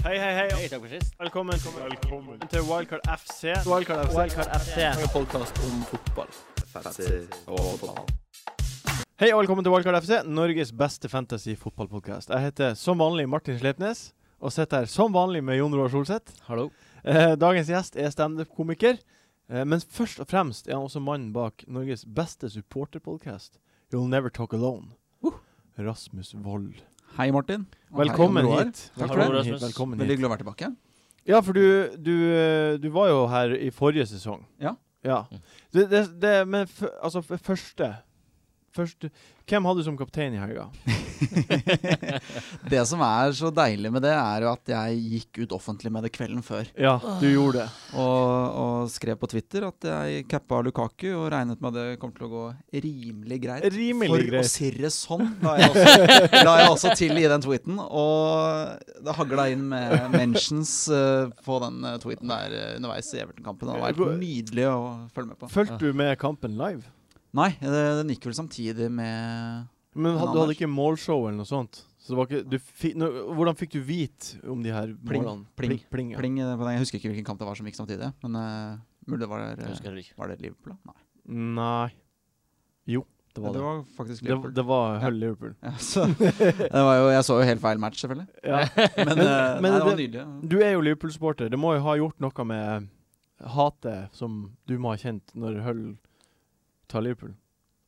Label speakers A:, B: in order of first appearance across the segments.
A: Hei, hei, hei.
B: takk for sist.
A: Velkommen, til Wildcard FC.
C: Wildcard FC.
A: Wildcard FC.
C: En podkast om fotball.
A: Hei og velkommen til Wildcard FC, Norges beste fantasy-fotballpodkast. Jeg heter som vanlig Martin Slepnes, og sitter her som vanlig med Jon Roar Solseth.
C: Hallo.
A: Eh, dagens gjest er standup-komiker, eh, men først og fremst er han også mannen bak Norges beste supporterpodkast, You'll Never Talk Alone.
C: Uh.
A: Rasmus Wold.
C: Hei, Martin. Og
A: Velkommen
C: hei, Jon Roar.
A: hit.
C: Takk for
A: Velkommen
B: det.
A: hit,
B: Rasmus.
A: Velkommen
C: Veldig
A: hit.
C: hyggelig å være tilbake.
A: Ja, for du, du, eh, du var jo her i forrige sesong.
C: Ja.
A: ja.
B: Mm.
A: Det, det, det, men f altså, f første, første Hvem hadde du som kaptein i helga?
C: det som er så deilig med det, er jo at jeg gikk ut offentlig med det kvelden før.
A: Ja, du gjorde det.
C: Og, og skrev på Twitter at jeg cappa Lukaku og regnet med at det kom til å gå rimelig greit.
A: Rimelig
C: For å
A: greit.
C: si det sånn, la jeg, også, la jeg også til i den tweeten. Og det hagla inn med mentions eh, på den eh, tweeten der eh, underveis i Everton-kampen. Det har vært nydelig å følge med på.
A: Fulgte du med kampen live?
C: Nei, eh, den gikk vel samtidig med
A: Men had,
C: Men
A: du hadde
C: Anders-
A: ikke målshow eller noe sånt? Så det var ikke, du fi, nå, hvordan fikk du vite om de her
C: Pling,
A: målene?
C: pling,
A: pling, ja.
C: Pling. eh, på den. Jeg husker ikke hvilken kamp det var som gikk samtidig. Men eh, mulig det var, eh,
B: Jeg husker heller ikke.
C: var det Liverpool, da? Nei.
A: Nei Jo, det var
C: det
A: det.
C: var faktisk
A: Det,
C: Liverpool.
A: det var
C: Ja.
A: Hull Liverpool.
C: Ja, så, det var jo, jeg så jo helt feil match, selvfølgelig.
A: Ja.
C: Men,
A: Men- men
C: eh, nei, det var
A: det-
C: nydelig.
A: Du er jo Liverpool-supporter. Det må jo ha gjort noe med hatet som du må ha kjent når Hull tar Liverpool?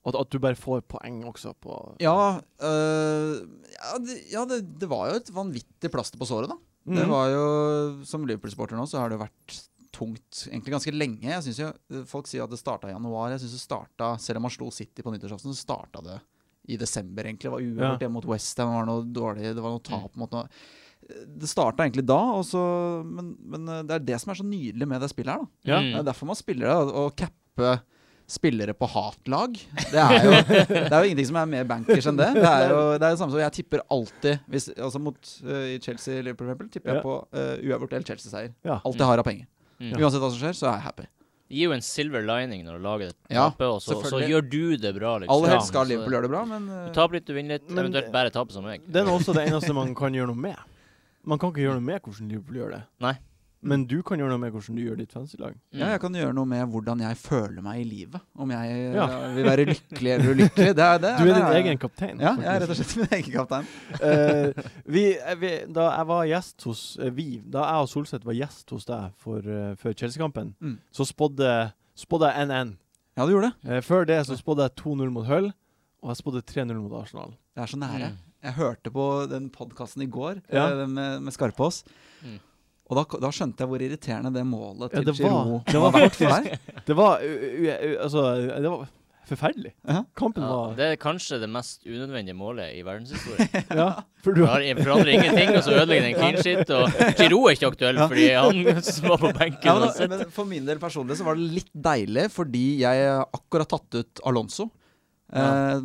A: At, at du bare får poeng også på
C: Ja, øh, ja, det, ja det, det var jo et vanvittig plaster på såret, da.
A: Mm.
C: Det var jo, Som Liverpool-sporter nå, så har det jo vært tungt egentlig ganske lenge. Jeg synes jo, øh, Folk sier at det starta i januar. Jeg synes det starta, Selv om man slo City på nyttårsaften, så starta det i desember, egentlig. Det var
A: Ja.
C: uavgjort hjemme mot Westham, det var noe dårlig, det var noe tap mot noe Det starta egentlig da, og så, men, men øh, det er det som er så nydelig med det spillet her, da.
A: Ja.
B: Mm.
C: Det er derfor man spiller det. og- Å cappe spillere på hatlag, det er, jo, det er jo ingenting som er mer bankers enn det. Det er jo det, er det samme som jeg tipper alltid hvis, altså mot eh, i Chelsea Liverpool, for eksempel,
A: Ja.
C: tipper jeg på eh, uavgjort eller Chelsea-seier.
A: Ja.
C: Alt jeg har av penger.
B: Mm.
C: Uansett hva som skjer, så er jeg happy.
B: Gir jo en silver lining når du lager det
C: Ja,
B: tapet, og så, så
C: selvfølgelig.
B: gjør du det bra, liksom.
C: Aller
A: Ja.
C: helst skal
B: Så-
C: Liverpool gjøre det bra, men
B: Du
C: eh,
B: taper litt, du vinner litt,
A: Men-
B: eventuelt bare taper som meg.
A: Det er nå også det eneste man kan gjøre noe med. Man kan ikke gjøre noe med hvordan Liverpool gjør det.
B: Nei.
A: Men du kan gjøre noe med hvordan du gjør ditt fancy-lag.
B: Mm.
C: ja, jeg kan gjøre noe med hvordan jeg føler meg i livet. Om jeg eh,
A: Ja.
C: vil være lykkelig eller ulykkelig. Det er, det,
A: Du er
C: det
A: din egen kaptein.
C: Ja, jeg er rett
A: faktisk.
C: og slett min egen kaptein.
A: Eh, vi, eh, vi, da jeg var gjest hos eh, vi, Da jeg og Solseth var gjest hos deg for, eh, før Chelsea-kampen,
C: Mm.
A: så spådde spådde jeg 1-1.
C: Ja, du gjorde det.
A: Eh, før det så spådde jeg 2-0 mot Hull, og jeg spådde 3-0 mot Arsenal.
C: Det er så nære.
B: Mm.
C: Jeg hørte på den podkasten i går
A: Ja.
C: eh, med, med Skarpås.
B: Mm.
C: Og da, da skjønte jeg hvor irriterende det målet
A: Ja,
C: til
A: det var-
C: Giroud
A: det var
C: vært for deg.
A: Det var u, u, u, Altså, det var forferdelig.
C: Ja.
A: Kampen
B: Ja,
A: var
B: det er kanskje det mest unødvendige målet i verdenshistorien.
A: Ja, for du
B: Det har- forandrer ingenting, og så ødelegger den clean shit. Og Giroud er ikke aktuell,
C: Ja.
B: fordi han som var på benken.
C: Ja, men,
B: uansett.
C: da- men for min del personlig så var det litt deilig, fordi jeg akkurat tatt ut Alonso.
A: Ja.
C: Eh,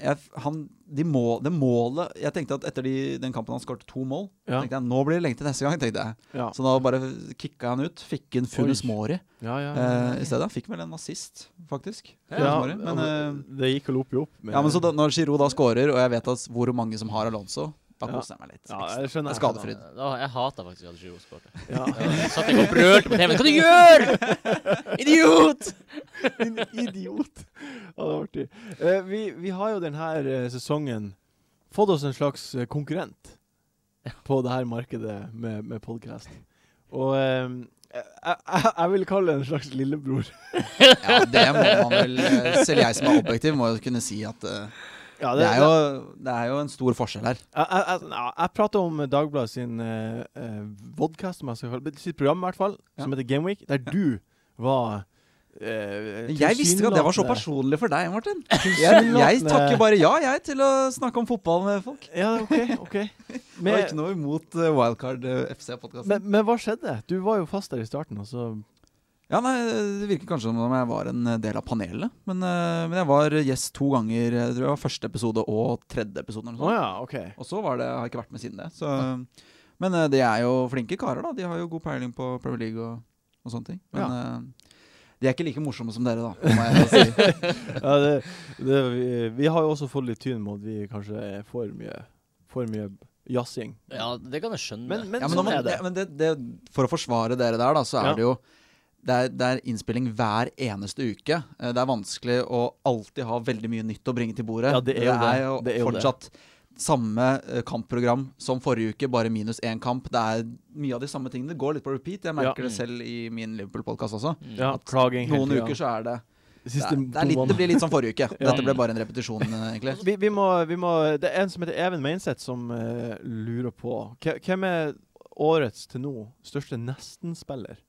C: jeg, han, de må, det målet Jeg tenkte at etter de, den kampen han skåret to mål,
A: Ja.
C: tenkte jeg nå blir det lenge til neste gang. tenkte jeg
A: Ja,
C: Så da bare kicka jeg han ut. Fikk inn Funes
A: Oi.
C: Mori
A: ja. ja,
C: eh, i stedet. Fikk vel en nazist, faktisk.
B: Ja,
C: Funes
A: Ja,
C: Mori, men, eh,
A: det gikk vel opp i opp. med-
C: Ja, men så da, Når Giroud da scorer, og jeg vet at hvor mange som har Alonso, da
A: Ja.
C: koser jeg meg litt. Liksom.
A: ja,
C: ekstra.
A: jeg skjønner.
C: Det er skadefryd.
B: Da, jeg hater faktisk at Giroud skåret.
A: Ja.
B: Jeg Satt jeg og brølte på TV-en. Hva du gjør du?! Idiot!
A: Din idiot! Ja, det var artig. Eh, vi, vi har jo denne sesongen fått oss en slags eh, konkurrent på det her markedet med, med podkast. Og eh, jeg, jeg, jeg vil kalle det en slags lillebror.
C: Ja, det må man vel eh, Selv jeg som er objektiv, må jo kunne si at eh,
A: Ja,
C: det, er jo, det er jo en stor forskjell her.
A: Jeg, jeg, jeg, ja, jeg prater om Dagbladet sin eh, eh, vodcast, som jeg skal kalle det, sitt program i hvert fall, som heter Gameweek, der du var eh,
C: Jeg visste ikke at det var så
A: tilsynelatende-
C: personlig for deg, Martin. Jeg,
A: Tilsynelatende-
C: jeg takker bare ja, jeg, til å snakke om fotball med folk.
A: Ja, OK. ok
C: Det var ikke noe imot eh, Wildcard FC-podkasten.
A: Men, men hva skjedde? Du var jo fast der i starten, og så
C: Ja, nei, Det virker kanskje som om jeg var en eh, del av panelet, men, eh, men jeg var gjest to ganger. Jeg tror det var første episode og tredje episode. Eller noe sånt.
A: Å ja, OK.
C: Og så var det, har jeg ikke vært med siden det. Så, men eh, de er jo flinke karer, da. De har jo god peiling på Premier League og, og sånne ting. Men eh, de er ikke like morsomme som dere, da. Må jeg si.
A: Ja, det, det, vi, vi har jo også fått litt tyn med at vi kanskje er for mye For mye jazzing.
B: Ja, det kan jeg skjønne.
A: Men, men,
C: Ja, men,
A: sånn
C: når man,
A: er det.
C: ja, men det, det, for å forsvare dere der, da, så er
A: Ja.
C: det jo det er, det er innspilling hver eneste uke. Eh, Det er vanskelig å alltid ha veldig mye nytt å bringe til bordet.
A: Ja, det er jo det.
C: jo
A: Det er jo det.
C: fortsatt samme eh, kampprogram som forrige uke, bare minus én kamp. Det er mye av de samme tingene. Det går litt på repeat. Jeg merker
A: Ja.
C: det selv i min Liverpool-podkast også.
B: Mm.
A: Ja, klaging hele
C: Noen
A: tiden.
C: uker så er det det,
A: Siste
C: er, det, er
A: to
C: litt, det blir litt som forrige uke.
A: Ja.
C: Dette ble bare en repetisjon, eh, egentlig.
A: Vi, vi, må, vi må Det er en som heter Even Meinseth som eh, lurer på Hve- Hvem er årets til nå største nesten-spiller?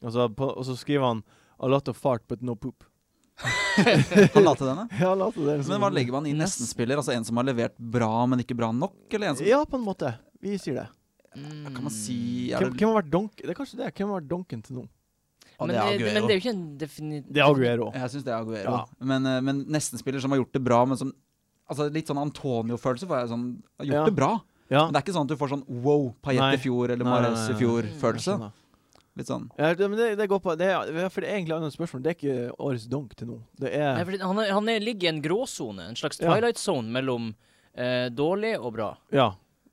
A: Altså, på- og så skriver han A lot of fart, but no poop.
C: Han la til denne.
A: Ja, la til det liksom.
C: Men hva legger man i nestenspiller? Altså en som har levert bra, men ikke bra nok? Eller en som
A: Ja, på en måte. Vi sier det.
B: Mm.
C: Kan man si er
A: Hvem,
C: det,
A: hvem har vært donk? Det er kanskje det. Hvem har vært donken til nå?
C: Ja,
B: men,
C: det er
B: det,
C: Aguero.
B: men det er jo ikke en defini...
A: Det er Aguero.
C: Jeg syns det er Aguero.
A: Ja.
C: Men, eh, men nestenspiller som har gjort det bra, men som altså Litt sånn Antonio-følelse, for jeg er sånn Har gjort
A: Ja.
C: det bra.
A: Ja.
C: Men det er ikke sånn at du får sånn wow,
A: Nei.
C: Paillette i fjor eller
A: Nei, nei, nei,
C: Mares i
A: nei. Jeg
C: fjor-følelse.
A: skjønner.
C: Litt sånn
A: Ja, det, men det, det går på det er, For det er egentlig et annet spørsmål. Det er ikke årets donk til nå. Det
B: Nei,
A: er
B: fordi han, er, han er, ligger i en gråsone, en slags
A: Ja.
B: twilight zone mellom eh, dårlig og bra.
A: Ja.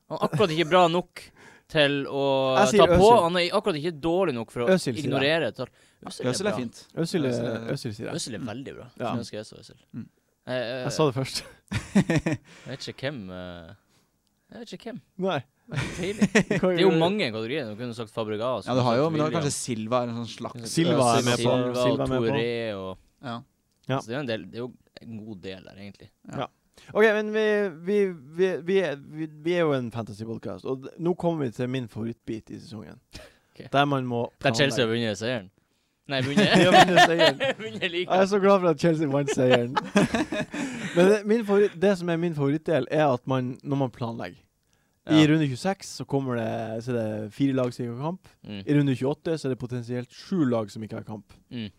B: Han er akkurat ikke bra nok til å
A: Jeg sier
B: ta på.
A: Øsil.
B: Han er akkurat ikke dårlig nok for å
A: Øsil, sier jeg.
B: ignorere et tall.
C: Øzil er fint.
A: Øzil eh,
B: Eh,
C: Øzil-
A: Øzil sier jeg.
B: Øsil er veldig bra.
A: Ja.
B: Skulle ønske jeg så Øsil.
C: Mm.
B: Eh, eh,
A: Jeg sa det først.
B: jeg vet ikke hvem eh, Jeg vet ikke hvem.
A: Nei.
B: Det er tidlig. Det er jo mange kategorier. Du kunne sagt Fabregas.
C: Ja, du har jo, men
B: kunne sagt
C: du har
B: William.
C: kanskje Silva eller en sånn slags
A: Silva er
C: Øzil.
A: med på.
B: Silva,
A: Silva er med på.
B: og Toré og
C: Ja.
A: Ja.
B: Så det er, jo en del, det er jo en god del der, egentlig.
A: OK, men vi, vi, vi, vi, er- vi, vi er jo en fantasy-podkast, og d- nå kommer vi til min favorittbit i sesongen.
B: Ok.
A: Der man må
B: Der Chelsea har
A: planlegge.
B: vunnet seieren. Nei,
A: De har
B: vunnet
A: vunnet seieren.
B: Vunnet ligaen.
A: Jeg er så glad for at Chelsea vant seieren. Men det, min favoritt, det som er min favorittdel, er at man, når man planlegger I
B: Ja.
A: runde 26 så kommer det, så er det fire lag som ikke har kamp.
B: Mm.
A: I runde 28 så er det potensielt sju lag som ikke har kamp.
B: Mm.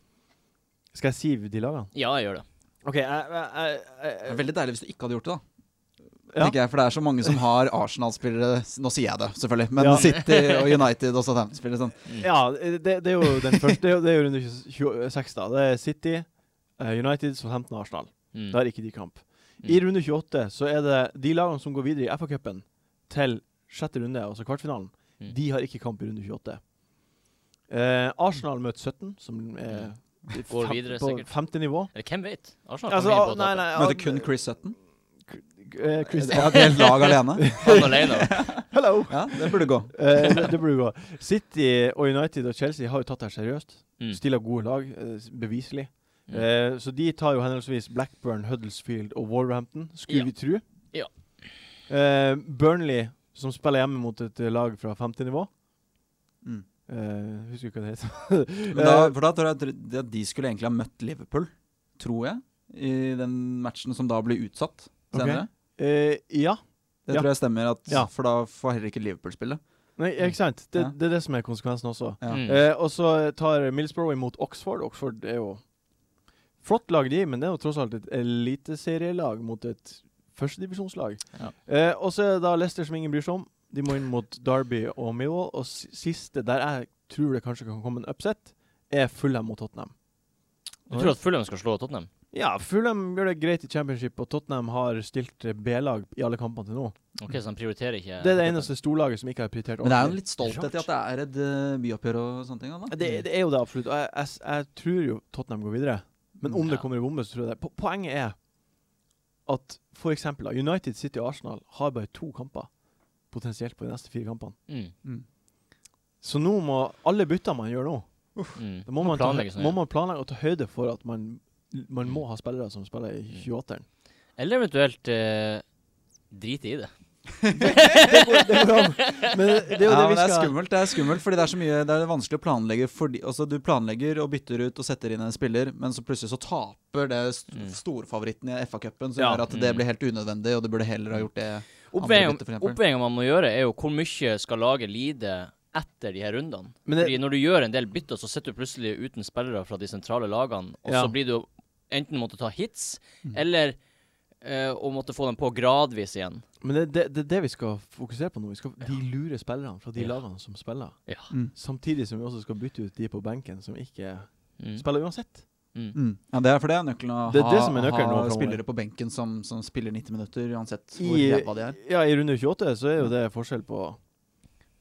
A: Skal jeg si de lagene?
B: Ja, jeg gjør det.
A: OK, jeg, jeg, jeg, jeg,
C: Det er Veldig deilig hvis du ikke hadde gjort det, da.
A: Ja.
C: Tenker jeg, For det er så mange som har Arsenal-spillere Nå sier jeg det, selvfølgelig, men
A: Ja.
C: City og United og Southampton-spillere sånn.
A: Ja, det, det er jo den første. Det er jo, det er jo runde 26, da. Det er City, eh, United, Southampton og Arsenal.
B: Mm.
A: Da er ikke de kamp.
B: Mm.
A: I runde 28 så er det de lagene som går videre i FA-cupen til sjette runde, altså kvartfinalen,
B: Mm.
A: de har ikke kamp i runde 28. Eh, Arsenal møter 17, som er
B: Mm. Går
A: fem-
B: videre,
A: på
B: sikkert.
A: femte nivå.
B: Eller hvem vet? Arsenal
A: Altså,
B: kommer inn på
A: ah, nei, nei, ah,
C: Møter kun Chris Sutton.
A: eh, Chris
C: Ja, et helt lag alene.
B: å tape. Han alene.
A: Hello!
C: Ja, det burde gå.
A: Eh, det, det burde gå. City og United og Chelsea har jo tatt det her seriøst.
B: Mm.
A: Stiller gode lag, eh, s- beviselig.
B: Mm.
A: Eh, så de tar jo henholdsvis Blackburn, Huddlesfield og Warhampton, skulle
B: Ja.
A: vi tro.
B: Ja.
A: Eh, Burnley, som spiller hjemme mot et eh, lag fra femte nivå.
C: Mm.
A: Eh, husker ikke hva det heter. Eh,
C: Men da, for da tror jeg at de- at de skulle egentlig ha møtt Liverpool, tror jeg, i den matchen som da ble utsatt senere.
A: Eh, ja.
C: Det
A: Ja.
C: tror jeg stemmer, at,
A: Ja.
C: for da får heller ikke Liverpool spille.
A: Nei, ikke sant. Det,
C: Ja.
A: det er det som er konsekvensen også.
C: Ja.
B: Mm.
A: Eh, og så tar Millsborough imot Oxford. Oxford er jo flott lag, de, men det er jo tross alt et eliteserielag mot et førstedivisjonslag.
B: Ja.
A: Eh, og så er det da Leicester som ingen bryr seg om. De må inn mot Derby og Millwall. Og s- siste, der jeg tror det kanskje kan komme en upset, er Fulham mot Tottenham.
B: Du tror at Fulham skal slå Tottenham?
A: Ja, Fulham gjør det greit i championship, og Tottenham har stilt eh, B-lag i alle kampene til nå.
B: Ok, Så han prioriterer ikke
A: Det er det eneste storlaget som ikke har prioritert
C: Men det er jo en
A: ordentlig.
C: litt stolthet i at det er et eh, byoppgjør og sånne ting. Da.
A: Ja, Det, det er jo det, absolutt. Og jeg, jeg, s- jeg tror jo Tottenham går videre. Men om det
B: Mm, Ja.
A: kommer en bombe, så tror jeg det. Po- Poenget er at for eksempel, da, United City og Arsenal har bare to kamper potensielt på de neste fire kampene.
B: Mm.
C: Mm.
A: Så nå må alle bytter man gjør nå,
B: Mm.
A: da må man, ta,
B: planlegge sånn,
A: må
B: ja.
A: man planlegge og ta høyde for at man, man må ha spillere som spiller
B: Mm.
A: i 28-eren.
B: Eller eventuelt eh, drite i det.
A: Det går- det går an. Men det er jo
C: ja,
A: det
C: men
A: vi
C: det er
A: skal
C: skummelt, det er skummelt, fordi det er så mye Det er vanskelig å planlegge fordi altså, Du planlegger og bytter ut og setter inn en spiller, men så plutselig så taper det st
B: Mm.
C: storfavoritten i FA-cupen, som
A: Ja.
C: gjør at det
B: Mm.
C: blir helt unødvendig, og du burde heller ha gjort det
B: Oppveiinga
C: bytte, for eksempel.
B: oppveiinga man må gjøre, er jo hvor mye skal laget lide etter de her rundene.
A: Men det-
B: Fordi Når du gjør en del bytter, så sitter du plutselig uten spillere fra de sentrale lagene, og
A: Ja. Mm.
B: så blir du enten måtte ta hits, eller eh, å måtte få dem på gradvis igjen.
A: Men det, det, det er det vi skal fokusere på nå. Vi skal, de lure spillerne fra de
B: Ja.
A: lagene som spiller.
B: Ja.
A: Samtidig som vi også skal bytte ut de på benken som ikke
B: Mm.
A: spiller uansett.
B: Mm.
C: Mm. Ja, det er for det er nøkkelen å
A: Det er
C: ha,
A: det som er nøkkelen
C: ha
A: nå fremover.
C: spillere på benken som, som spiller 90 minutter, uansett hvor
A: I,
C: ræva de er.
A: ja, I runde 28 så er jo det forskjell på,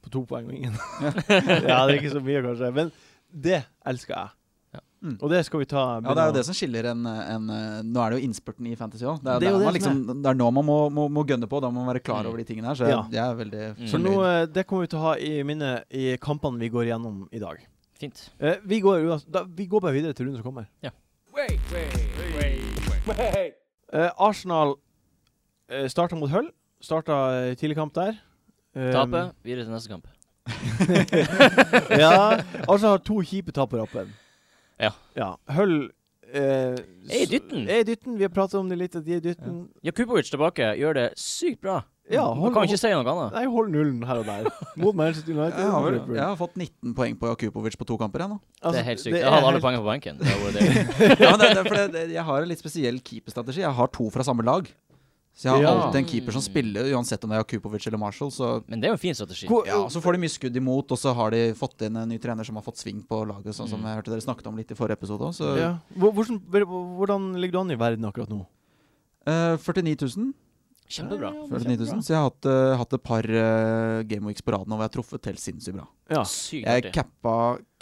A: på to poeng og ingen. ja, det er ikke så mye, kanskje. Men det elsker jeg.
B: Ja.
C: Mm.
A: Og det skal vi ta
C: Ja, Det er jo det som skiller en, en Nå er det jo innspurten i Fantasy òg. Det, er-
A: Det er jo
C: der
A: det
C: man
A: som
C: liksom, det er nå man må, må, må gønne på. Da må man være klar
B: Mm.
C: over de tingene her. Så jeg,
A: Ja.
C: jeg er veldig
B: Mm.
A: Så nå, eh, det kommer vi til å ha i minne i kampene vi går gjennom i dag.
B: Fint.
A: Eh, vi, går, uans- da, vi går bare videre til runden som kommer.
B: Ja.
A: Eh, Arsenal uh, starta mot Hull. Starta eh, tidlig kamp der. Um,
B: Tape, videre til neste kamp.
A: ja. Arsenal har to kjipe tap på rappen.
B: Ja.
A: Hull eh,
B: Er i dytten.
A: Er i dytten. Vi har pratet om det litt, at de er i dytten.
B: Jakubovic tilbake gjør det sykt bra.
A: Ja,
B: Man kan jo ikke si noe annet.
A: Nei, hold nullen her og der. Mot Manchester United.
C: Jeg
A: og
C: har, vel,
A: Liverpool.
C: jeg har fått 19 poeng på Jakubovic på to kamper. Jeg, nå.
A: Altså,
B: det er helt sykt.
A: det
B: Jeg hadde
A: er
B: alle
A: helt-
B: poengene på benken. Det var det.
C: ja, men det, det, er fordi det, jeg har en litt spesiell keeperstrategi. Jeg har to fra samme lag. Så jeg har
A: Ja.
C: alltid en keeper som spiller, uansett om det er Jakubovic eller Marshall. Så,
B: Men det er jo en fin strategi.
A: Hvor-
C: ja, og så får de mye skudd imot, og så har de fått inn en ny trener som har fått sving på laget, sånn
B: Mm.
C: som jeg hørte dere snakket om litt i forrige episode òg. Så
A: ja. Hvor- hvordan, hvordan ligger du an i verden akkurat nå?
C: eh, 49 000.
B: Kjempebra.
A: Ja, ja,
C: 49 000
A: kjempebra.
C: så jeg har hatt, eh, hatt et par eh, gameweeks på rad nå hvor jeg har truffet helt sinnssykt bra.
A: Ja.
B: Sykt
C: Jeg
B: artig.
C: cappa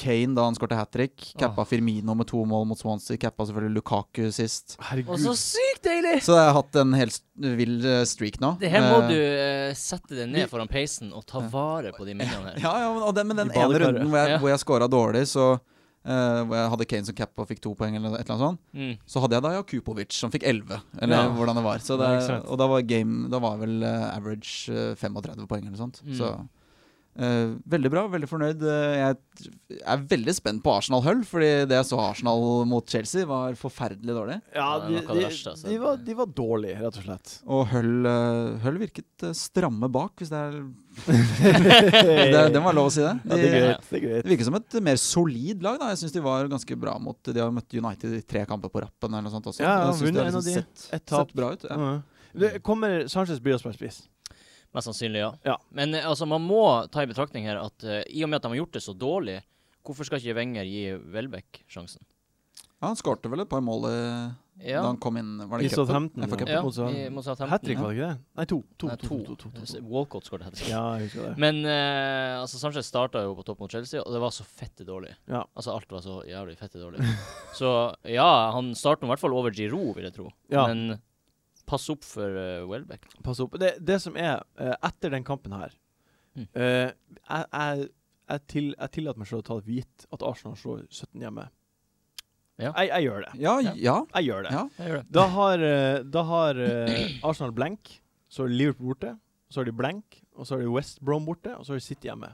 C: Kane da han skårte hat trick. Cappa Firmino med to mål mot Swansea. Cappa selvfølgelig Lukaku sist.
B: Og
A: Herregud.
B: så sykt deilig!
C: Så jeg har hatt en helt st- vill eh, streak nå.
B: Det her må
C: Eh,
B: du eh, sette deg ned foran peisen og ta vare på de minnene her.
C: Ja, ja men, og den, men
A: I
C: den ene
A: badekaret.
C: runden hvor jeg,
B: Ja.
C: hvor jeg scora dårlig, så eh, hvor jeg hadde Kane som cappa og fikk to poeng, eller et eller annet sånt,
B: Mm.
C: så hadde jeg da Jakupovic som fikk elleve, eller
A: Ja.
C: hvordan det var. Så det,
A: Ja, ikke sant.
C: og da var game Da var vel eh, average eh, 35 poeng, eller noe sånt.
B: Mm.
C: Så eh, veldig bra, veldig fornøyd. Eh, jeg er veldig spent på Arsenal-Hull, fordi det jeg så Arsenal mot Chelsea, var forferdelig dårlig.
A: Ja,
B: Ja, det
A: de,
B: var noe av det
A: de,
B: verste, altså.
A: de, var, de var dårlige, rett og slett.
C: Og Hull, eh, Hull virket eh, stramme bak, hvis det er det, det var lov å si det.
A: ja, det er
B: de-
A: greit. Det er greit.
C: Det virker som et mer solid lag. da Jeg syns de var ganske bra mot De har møtt United i tre kamper på rappen. eller noe sånt også
A: Ja, ja,
C: Jeg synes
A: vunnet
C: har liksom
A: en av de.
C: Sett,
A: Et tap.
C: sett bra ut. Ja.
A: Ja. Det kommer Sanchez blir å spille spiss.
B: Mest sannsynlig, ja.
A: Ja.
B: Men eh, altså, man må ta i betraktning her at eh, i og med at de har gjort det så dårlig, hvorfor skal ikke Wenger gi Welbeck sjansen?
C: Ja, han skårte vel et par mål i,
B: Ja.
C: da han kom inn. Var
A: I
C: det cupen?
A: Southampton,
C: FA
A: ja.
C: cupen.
B: ja,
A: mot Southampton.
B: i- mot Southampton.
A: Hat trick, var det ikke det? Nei, to. To,
B: Nei,
A: to, to, to, to, to, to.
B: Walcott skåret hat trick.
A: Ja, jeg husker det.
B: Men eh, altså Sanchez starta jo på topp mot Chelsea, og det var så fette dårlig.
A: Ja.
B: Altså Alt var så jævlig fette dårlig. så ja, han starter i hvert fall over Giroud, vil jeg tro.
A: Ja.
B: Men pass opp for eh, Welbeck.
A: Pass opp. Det, det som er, eh, etter den kampen her
B: Mm.
A: eh, jeg, jeg, jeg, til, jeg tillater meg selv å ta det for gitt at Arsenal slår 17 hjemme.
B: Ja.
A: Jeg, jeg gjør det.
C: Ja, ja.
A: Jeg gjør det.
C: Ja.
B: Jeg gjør det.
A: Da har, eh, da har eh, Arsenal blank, så er Liverpool borte, så har de blank, og så har de West Brom borte, og så har de City hjemme.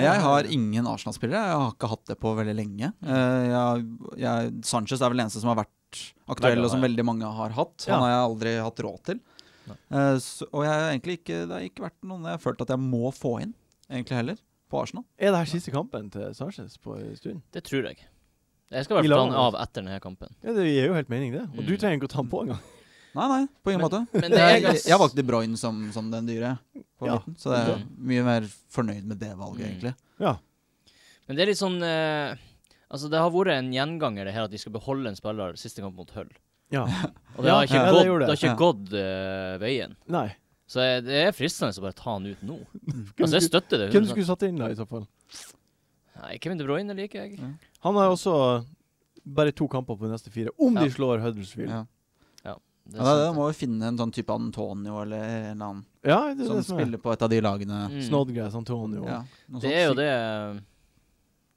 C: Jeg har ingen Arsenal-spillere. Jeg har ikke hatt det på veldig lenge.
A: Mm.
C: Eh, Jeg, jeg, Sanchez er vel den eneste som har vært aktuell,
B: Veldig,
C: og som
B: ja.
C: veldig mange har hatt.
A: Ja.
C: Han har jeg aldri hatt råd til.
B: Nei.
C: Eh, så, og jeg har egentlig ikke, det har ikke vært noen jeg har følt at jeg må få inn, egentlig heller, på Arsenal.
A: Er det her siste kampen til Sanchez på en stund?
B: Det tror jeg. Jeg skal i hvert fall ta
A: Milan,
B: han av etter denne kampen.
A: Ja, Det gir jo helt mening, det. Og du
B: Mm.
A: trenger ikke å ta den på engang.
C: Nei, nei, på ingen
B: Men-
C: måte.
B: men det er
C: jeg,
B: gans-
C: jeg valgte De Bruyne som, som den dyre på
A: Ja.
C: midten, så det er
B: Ja.
C: mye mer fornøyd med det valget,
B: Mm.
C: egentlig.
A: Ja.
B: Men det er litt sånn eh, Altså, det har vært en gjenganger, det her at de skal beholde en spiller siste kamp mot Hull.
A: ja.
B: Og det
A: Ja,
B: har ikke
A: ja, det
B: gått, det
A: gjorde det.
B: har ikke
C: Ja.
B: gått eh, veien.
A: Nei.
B: Så jeg, det er fristende å bare ta han ut nå. Altså, jeg støtter det.
A: Hvem
B: 100%.
A: skulle satt inn da, i så fall?
B: Nei, Kevin De Bruyne liker jeg.
A: Han har også bare to kamper på de neste fire, om
B: Ja.
A: de slår Huddersfield.
C: Ja.
B: Det
C: Ja, da, da
B: sant,
C: må vi finne en sånn type Antonio eller en eller annen
A: Ja, det er
C: som
A: det som er. sånn
C: spiller på et av de lagene.
B: Mm.
A: Snodgrass, Antonio
C: Ja, noe
B: Det
C: sånt.
B: er jo det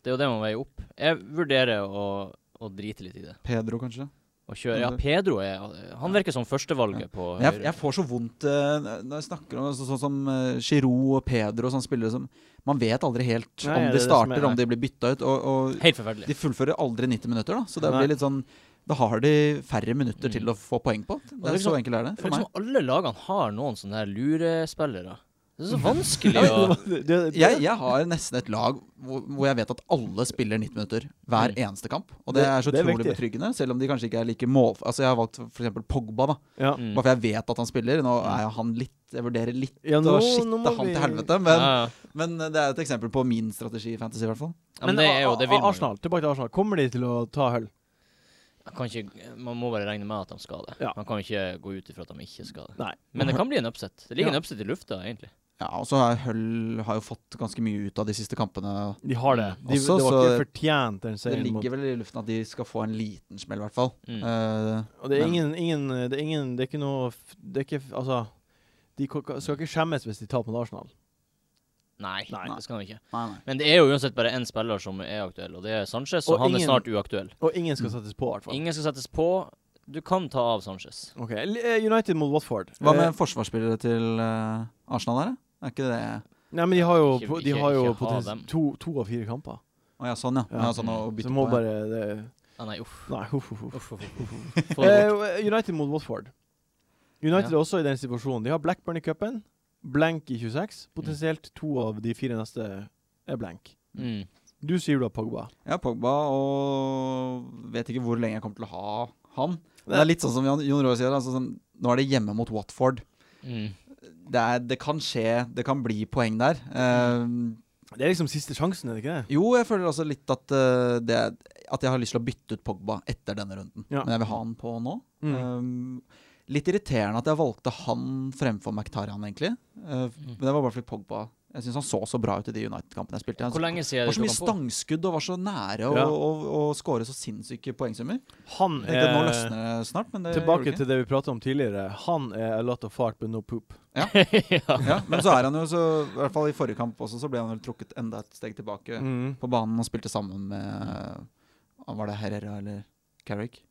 B: Det er jo det man veier opp. Jeg vurderer å, å drite litt i det.
C: Pedro, kanskje.
B: Å kjøre Ja, Pedro er Han virker som førstevalget på
C: Men Jeg,
B: høyre.
C: jeg får så vondt eh, når jeg snakker om så, sånn som eh, Giroud og Pedro og sånne spillere som Man vet aldri helt
A: Nei,
C: om
A: det er
C: de
A: det som
C: starter,
A: er-
C: om de blir bytta ut. Og,
B: Helt
C: og
B: forferdelig.
C: de fullfører aldri 90 minutter, da. Så det
A: Nei.
C: blir litt sånn Da har de færre minutter
B: Mm.
C: til å få poeng på. Det
B: det
C: er
B: er liksom-
C: så enkelt er det
B: Det
C: for
B: virker
C: meg.
B: som alle lagene har noen sånne her lurespillere. Det Det er så vanskelig å
A: Ja, det- det-
C: Jeg, jeg har nesten et lag hvor, hvor jeg vet at alle spiller 90 minutter hver eneste kamp. Og Mm. det
A: Det-
C: er så
A: det er
C: utrolig
A: viktig.
C: betryggende, selv om de kanskje ikke er like mål... Altså, jeg har valgt f.eks. Pogba, da.
A: ja.
B: Mm.
C: Bare for jeg vet at han spiller. Nå er jo han litt Jeg vurderer litt
A: Ja,
C: å
A: nå- nå
C: shitte
A: må
C: han
A: vi-
C: til helvete, men,
B: Ja, ja.
C: men det er et eksempel på min strategi i fantasy, i hvert fall.
B: Ja, men det er jo, det vil
A: A- A-
B: man jo.
A: Arsenal, tilbake til Arsenal. Kommer de til å ta hull?
B: Jeg Kan ikke, man må bare regne med at de skal det.
A: Ja.
B: Man kan ikke gå ut ifra at de ikke skal det.
A: Nei. Mhm.
B: Men det kan bli en upset. Det ligger
A: Ja.
B: en upset i lufta, egentlig.
C: Ja, og så har Hull har jo fått ganske mye ut av de siste kampene.
A: De har det.
B: Mm.
A: De,
C: Også,
A: det var
C: så-
A: ikke fortjent, den
C: Det
A: seieren. mot-
C: ligger vel i luften at de skal få en liten smell, i hvert fall.
B: Mm.
C: Eh,
A: Og det er
C: men-
A: ingen, ingen Det er ingen Det er ikke noe f- Det er ikke f- Altså de ko- ka- skal ikke skjemmes hvis de taper mot Arsenal.
B: Nei,
A: Nei.
B: det skal de ikke.
C: nei, nei.
B: Men det er jo uansett bare én spiller som er aktuell, og det er Sanchez. Og,
A: Og
B: han
A: ingen-
B: er snart uaktuell.
A: Og ingen skal
C: Mm.
A: settes på, i hvert fall.
B: Ingen skal settes på. Du kan ta av Sanchez.
A: Ok, L- eh, United mot Watford.
C: Hva
A: Eh,
C: med forsvarsspillere til eh, Arsenal her, da? Er ikke det
A: Nei, men de har jo,
B: Ikke-
A: po- de
B: ikke-
A: har jo
B: ikke ha
A: potens-
B: dem.
A: to, to av fire kamper.
C: Å ja, sånn, ja.
A: Ja.
C: ja. sånn å
A: Så
C: bytte
A: må
C: på, ja.
A: bare det,
B: Ah, nei, uff.
A: Nei, huff, huff, huff.
B: Uff, uff, uff, uff. Få det bort.
A: Eh, United mot Watford. United er også i den situasjonen. De har Blackburn i cupen, blank i 26. Potensielt to av de fire neste er blank.
B: Mm.
A: Du sier du har Pogba.
C: Ja, Pogba, og vet ikke hvor lenge jeg kommer til å ha han. Men det er litt sånn som Jon Jon Roar sier, altså, sånn, nå er det hjemme mot Watford.
B: Mm.
C: Det, er, det kan skje, det kan bli poeng der. Eh,
A: Det er liksom siste sjansen, er det ikke det?
C: jo, jeg føler også litt at, eh, det, at jeg har lyst til å bytte ut Pogba etter denne runden.
A: Ja. Mm.
C: Men jeg vil ha han på nå. Eh, litt irriterende at jeg valgte han fremfor Mkhitaryan, egentlig. Eh,
B: Mm.
C: Men det var bare fordi Pogba Jeg syns han så så bra ut i de United-kampene jeg spilte. Han
B: Hvor lenge siden
C: Altså, det
B: er
C: var så
B: det du
C: mye
B: kom på?
C: stangskudd og var så nære å
A: Ja.
C: å- å skåre så sinnssyke poengsummer.
A: Han
C: Jeg tenkte, nå
A: er
C: løsner det snart, men det gjorde det
A: Eh, Tilbake
C: ikke.
A: til det vi prata om tidligere. Han er a lot of fart, but no poop.
B: ja.
C: Ja, men så er han jo så I hvert fall i forrige kamp også, så ble han vel trukket enda et steg tilbake
A: Mm.
C: på banen og spilte sammen med ah, Var det Herrera eller Carrick?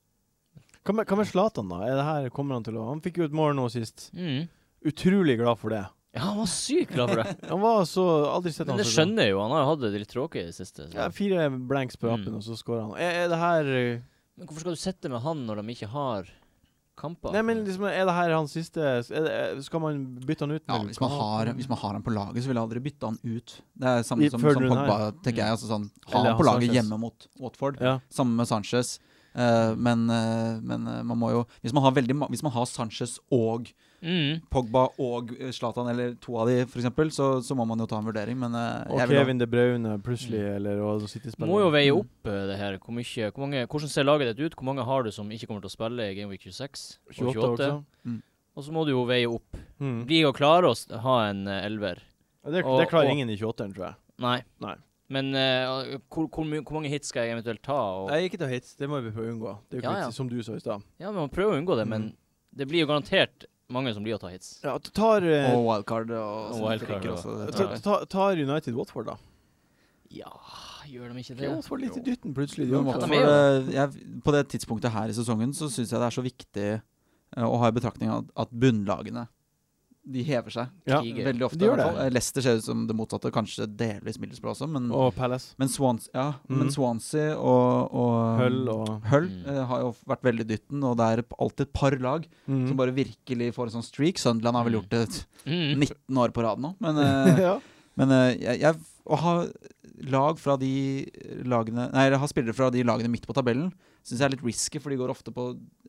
A: Hva med- hva med Zlatan, da? Er det her kommer Han til å Han fikk jo et mål nå sist.
B: Mm.
A: Utrolig glad for det.
B: ja, han var sykt glad for det.
A: Han var så Aldri sett
B: Men
A: han
B: det
A: så glad.
B: skjønner jeg jo. Han har jo hatt det litt tråkig i det siste. Så.
A: Ja, fire blanks på rappen,
B: Mm.
A: og så scorer han. Er, er det her eh,
B: Men hvorfor skal du sitte med han når de ikke har kamper?
A: Nei, men liksom, Er det her hans siste er det, Skal man bytte han ut?
C: Ja,
A: eller
C: hvis
A: kan
C: man, har, hvis man har han på laget, så ville jeg aldri bytte han ut. Det er
A: I-
C: samme som,
A: før
C: som
A: runden her.
C: Pogba, tenker jeg. Altså sånn, ha
A: Eller
C: han på
A: ha
C: laget
A: Sanchez.
C: hjemme mot Watford.
A: ja.
C: Samme med Sanchez. Eh, men, eh, men eh, man må jo Hvis man har, veldig, ma- hvis man har Sanchez og
B: Mm.
C: Pogba og eh, Zlatan, eller to av de, f.eks., så, så må man jo ta en vurdering, men eh,
A: Og
C: jeg vil ha- Mm.
A: Kevin De Bruyne plutselig, eller og City-spiller.
B: Må jo veie opp eh, det her. Hvor mye, hvor mange, hvordan ser laget ditt ut? Hvor mange har du som ikke kommer til å spille i Game Week 26 og
A: 28 også.
B: Og så må du jo veie opp.
A: Mm.
B: Blir å klare å s- ha en eh, elver.
A: Og Det,
B: Og-
A: det klarer
B: og-
A: ingen i 28-eren, tror jeg.
B: Nei.
A: Nei.
B: Men eh, hvor, hvor, my- hvor mange hits skal jeg eventuelt ta? Og,
A: Nei, ikke ta hits. Det må vi prøve å unngå. Det er jo ikke
B: Ja, ja.
A: vits i, som du sa i stad.
B: ja, men Man prøver å unngå det, men
A: Mm.
B: det blir jo garantert mange som blir å ta hits.
A: Ja, t- tar, eh,
C: Og wildcard og,
B: Og
C: sånne
B: wildcard
C: frikker
B: og-
C: også, det
A: ta,
C: tror jeg.
A: ta, tar United Watford, da?
B: Ja, gjør de ikke
A: Det
B: det?
A: er Watford litt i dytten plutselig. de
C: Men
A: også.
B: ta
C: hvorfor,
B: med, da.
C: eh, jeg, på det tidspunktet her i sesongen så syns jeg det er så viktig eh, å ha i betraktning at, at bunnlagene de hever seg
A: Ja.
B: Kriger.
C: veldig ofte.
A: De gjør
C: i hvert fall.
A: det.
C: Eh, Leicester ser ut som det motsatte, kanskje delvis Middlesbrough også, men,
A: Mm. Og Palace.
C: men, Swans, ja,
A: Mhm.
C: men Swansea og, og
A: Hull og
C: Hull,
B: Mm.
C: eh, har jo vært veldig dytten, og det er alltid et par lag
A: Mm.
C: som bare virkelig får en sånn streak. Sunderland har vel gjort det
B: Mm.
C: 19 år på rad nå, men eh,
A: ja.
C: Men eh, jeg, jeg, å ha lag fra de lagene Nei, eller ha spillere fra de lagene midt på tabellen syns jeg er litt risky, for de går ofte på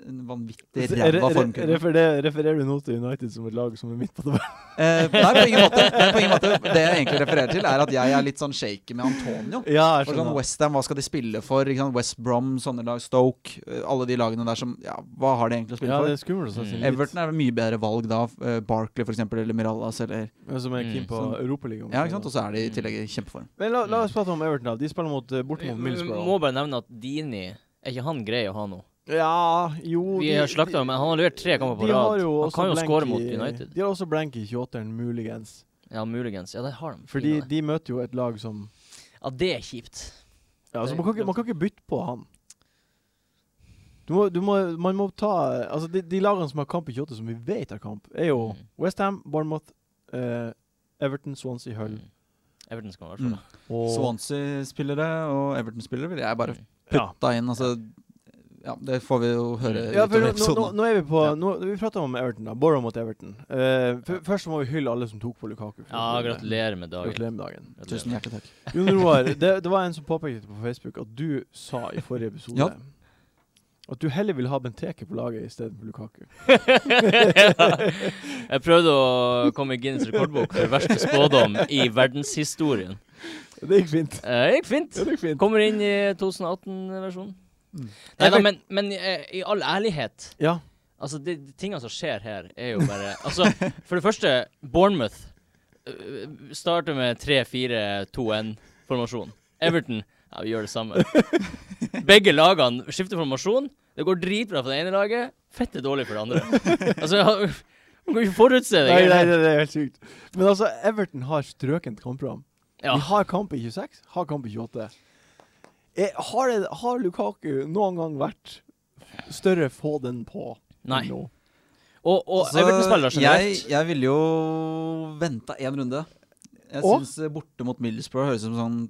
C: en vanvittig
A: Så re-
C: ræva
A: re-
C: formkurve.
A: referer, refererer du nå til United som et lag som er midt på tabellen?
C: Eh, nei, på ingen måte. Nei, på ingen måte. Det jeg egentlig refererer til, er at jeg er litt sånn shaky med Antonio.
A: Ja, jeg
C: For sånn
A: skjønner.
C: Westham, hva skal de spille for? Ikke sant? West Brom, sånne lag, Stoke eh, Alle de lagene der som Ja, hva har de egentlig å spille
A: Ja, det
C: for?
A: er skummelt å sette
B: Mm.
A: sin lit.
C: Everton er vel mye bedre valg da. eh, Barkley, for eksempel, eller Mirallas, eller
A: Ja, Som er keen
B: Mm.
A: på
C: Sånn.
A: Europaligaen.
C: Ja, ikke sant? Og så er de i tillegg i kjempeform.
A: Men la, la oss prate om Everton. da De spiller mot eh, borte mot
B: Vi
A: Middlesbrough.
B: må bare nevne at Dini Er ikke han grei å ha nå?
A: Ja, jo
B: Vi
A: de-
B: har slakta ham, men han har levert tre kamper på
A: de har
B: rad.
A: jo
B: Han
A: også
B: kan jo
A: blank
B: skåre
A: i-
B: mot United.
A: De har også blank i 28-eren, muligens.
B: Ja, muligens. Ja, det har de.
A: Fordi
B: Fine, det.
A: de møter jo et lag som
B: Ja, det er kjipt.
A: ja, altså,
B: Det-
A: man, kan ikke, man kan ikke bytte på han. Du må, du må, man må ta Altså, de, de lagene som har kamp i 28, som vi vet har kamp, er jo
B: Mm.
A: Westham, Bournemouth, eh, Everton, Swansea, Hull
B: Mm. Everton skal være
C: Mm.
B: sånn.
A: og
C: Swansea-spillere og Everton-spillere ville jeg bare
B: Mm.
A: ja.
C: putta inn. Altså, Ja, det får vi jo høre
A: Ja, for nå,
C: utover
A: nå, nå-
C: episoden.
A: nå er vi på
C: Ja.
A: nå, Vi prater om Everton, da. Borough mot Everton. Eh, f Først så må vi hylle alle som tok på Lukaku.
B: Ja, gratulerer med dagen.
A: Mm. Gratulerer med dagen.
B: Gratulerer.
C: Tusen hjertelig takk.
A: Jon Roar, det, det var en som påpekte på Facebook at du sa i forrige episode
C: Ja.
A: at du heller vil ha Benteke på laget istedenfor Lukaku.
B: jeg prøvde å komme i Guinness rekordbok for verste spådom i verdenshistorien.
A: Det gikk fint.
B: Eh, Det gikk fint.
A: Ja, det gikk fint.
B: Kommer inn i 2018-versjonen.
C: Mm.
B: Nei da, men, men eh, i all ærlighet
A: Ja.
B: Altså, de, de tingene som skjer her, er jo bare Altså, for det første, Bournemouth øh, starter med 3-4-2-1-formasjon. Everton ja, vi gjør det samme. Begge lagene skifter formasjon. Det går dritbra for det ene laget, fette dårlig for det andre. Altså, ja, man kan jo ikke forutse det.
A: Nei, nei, det er helt sykt. Men altså, Everton har strøkent kampprogram.
B: Ja.
A: Vi har kamp i 26, har kamp i 28. Eh, har, det, har Lukaku noen gang vært større få den på?
B: Nei.
A: Nå?
B: Og, og
A: Altså,
C: Så
B: Everton-spillere
C: Altså, jeg,
B: generelt.
C: jeg ville jo venta én runde. Jeg
A: Og?
C: syns borte mot Middlesbrough høres ut som sånn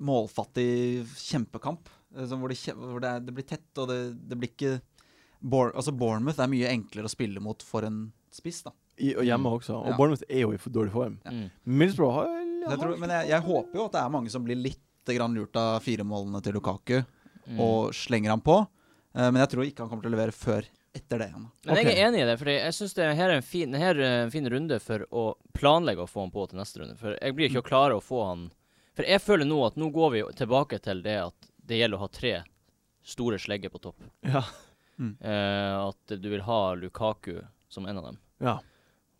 C: målfattig kjempekamp. eh, Sånn hvor det, kje- hvor det, er, det blir tett, og det, det blir ikke Bour- altså Bournemouth er mye enklere å spille mot for en spiss, da.
A: I, og hjemme også. Og
C: Ja.
A: Bournemouth er jo i for dårlig form.
C: Ja.
B: Mm.
A: Middlesbrough har
C: Jeg tror, men jeg, jeg håper jo at det er mange som blir litt grann lurt av firemålene til Lukaku
B: Mm.
C: og slenger ham på. Eh, Men jeg tror ikke han kommer til å levere før etter det igjen. da.
B: Men
A: Ok.
B: jeg er enig i det, for jeg syns det her er en fin, her er en fin runde for å planlegge å få han på til neste runde. For jeg blir ikke å
A: Mm.
B: klare å få han For jeg føler nå at nå går vi jo tilbake til det at det gjelder å ha tre store slegger på topp.
A: Ja.
B: Eh, at du vil ha Lukaku som en av dem.
A: ja.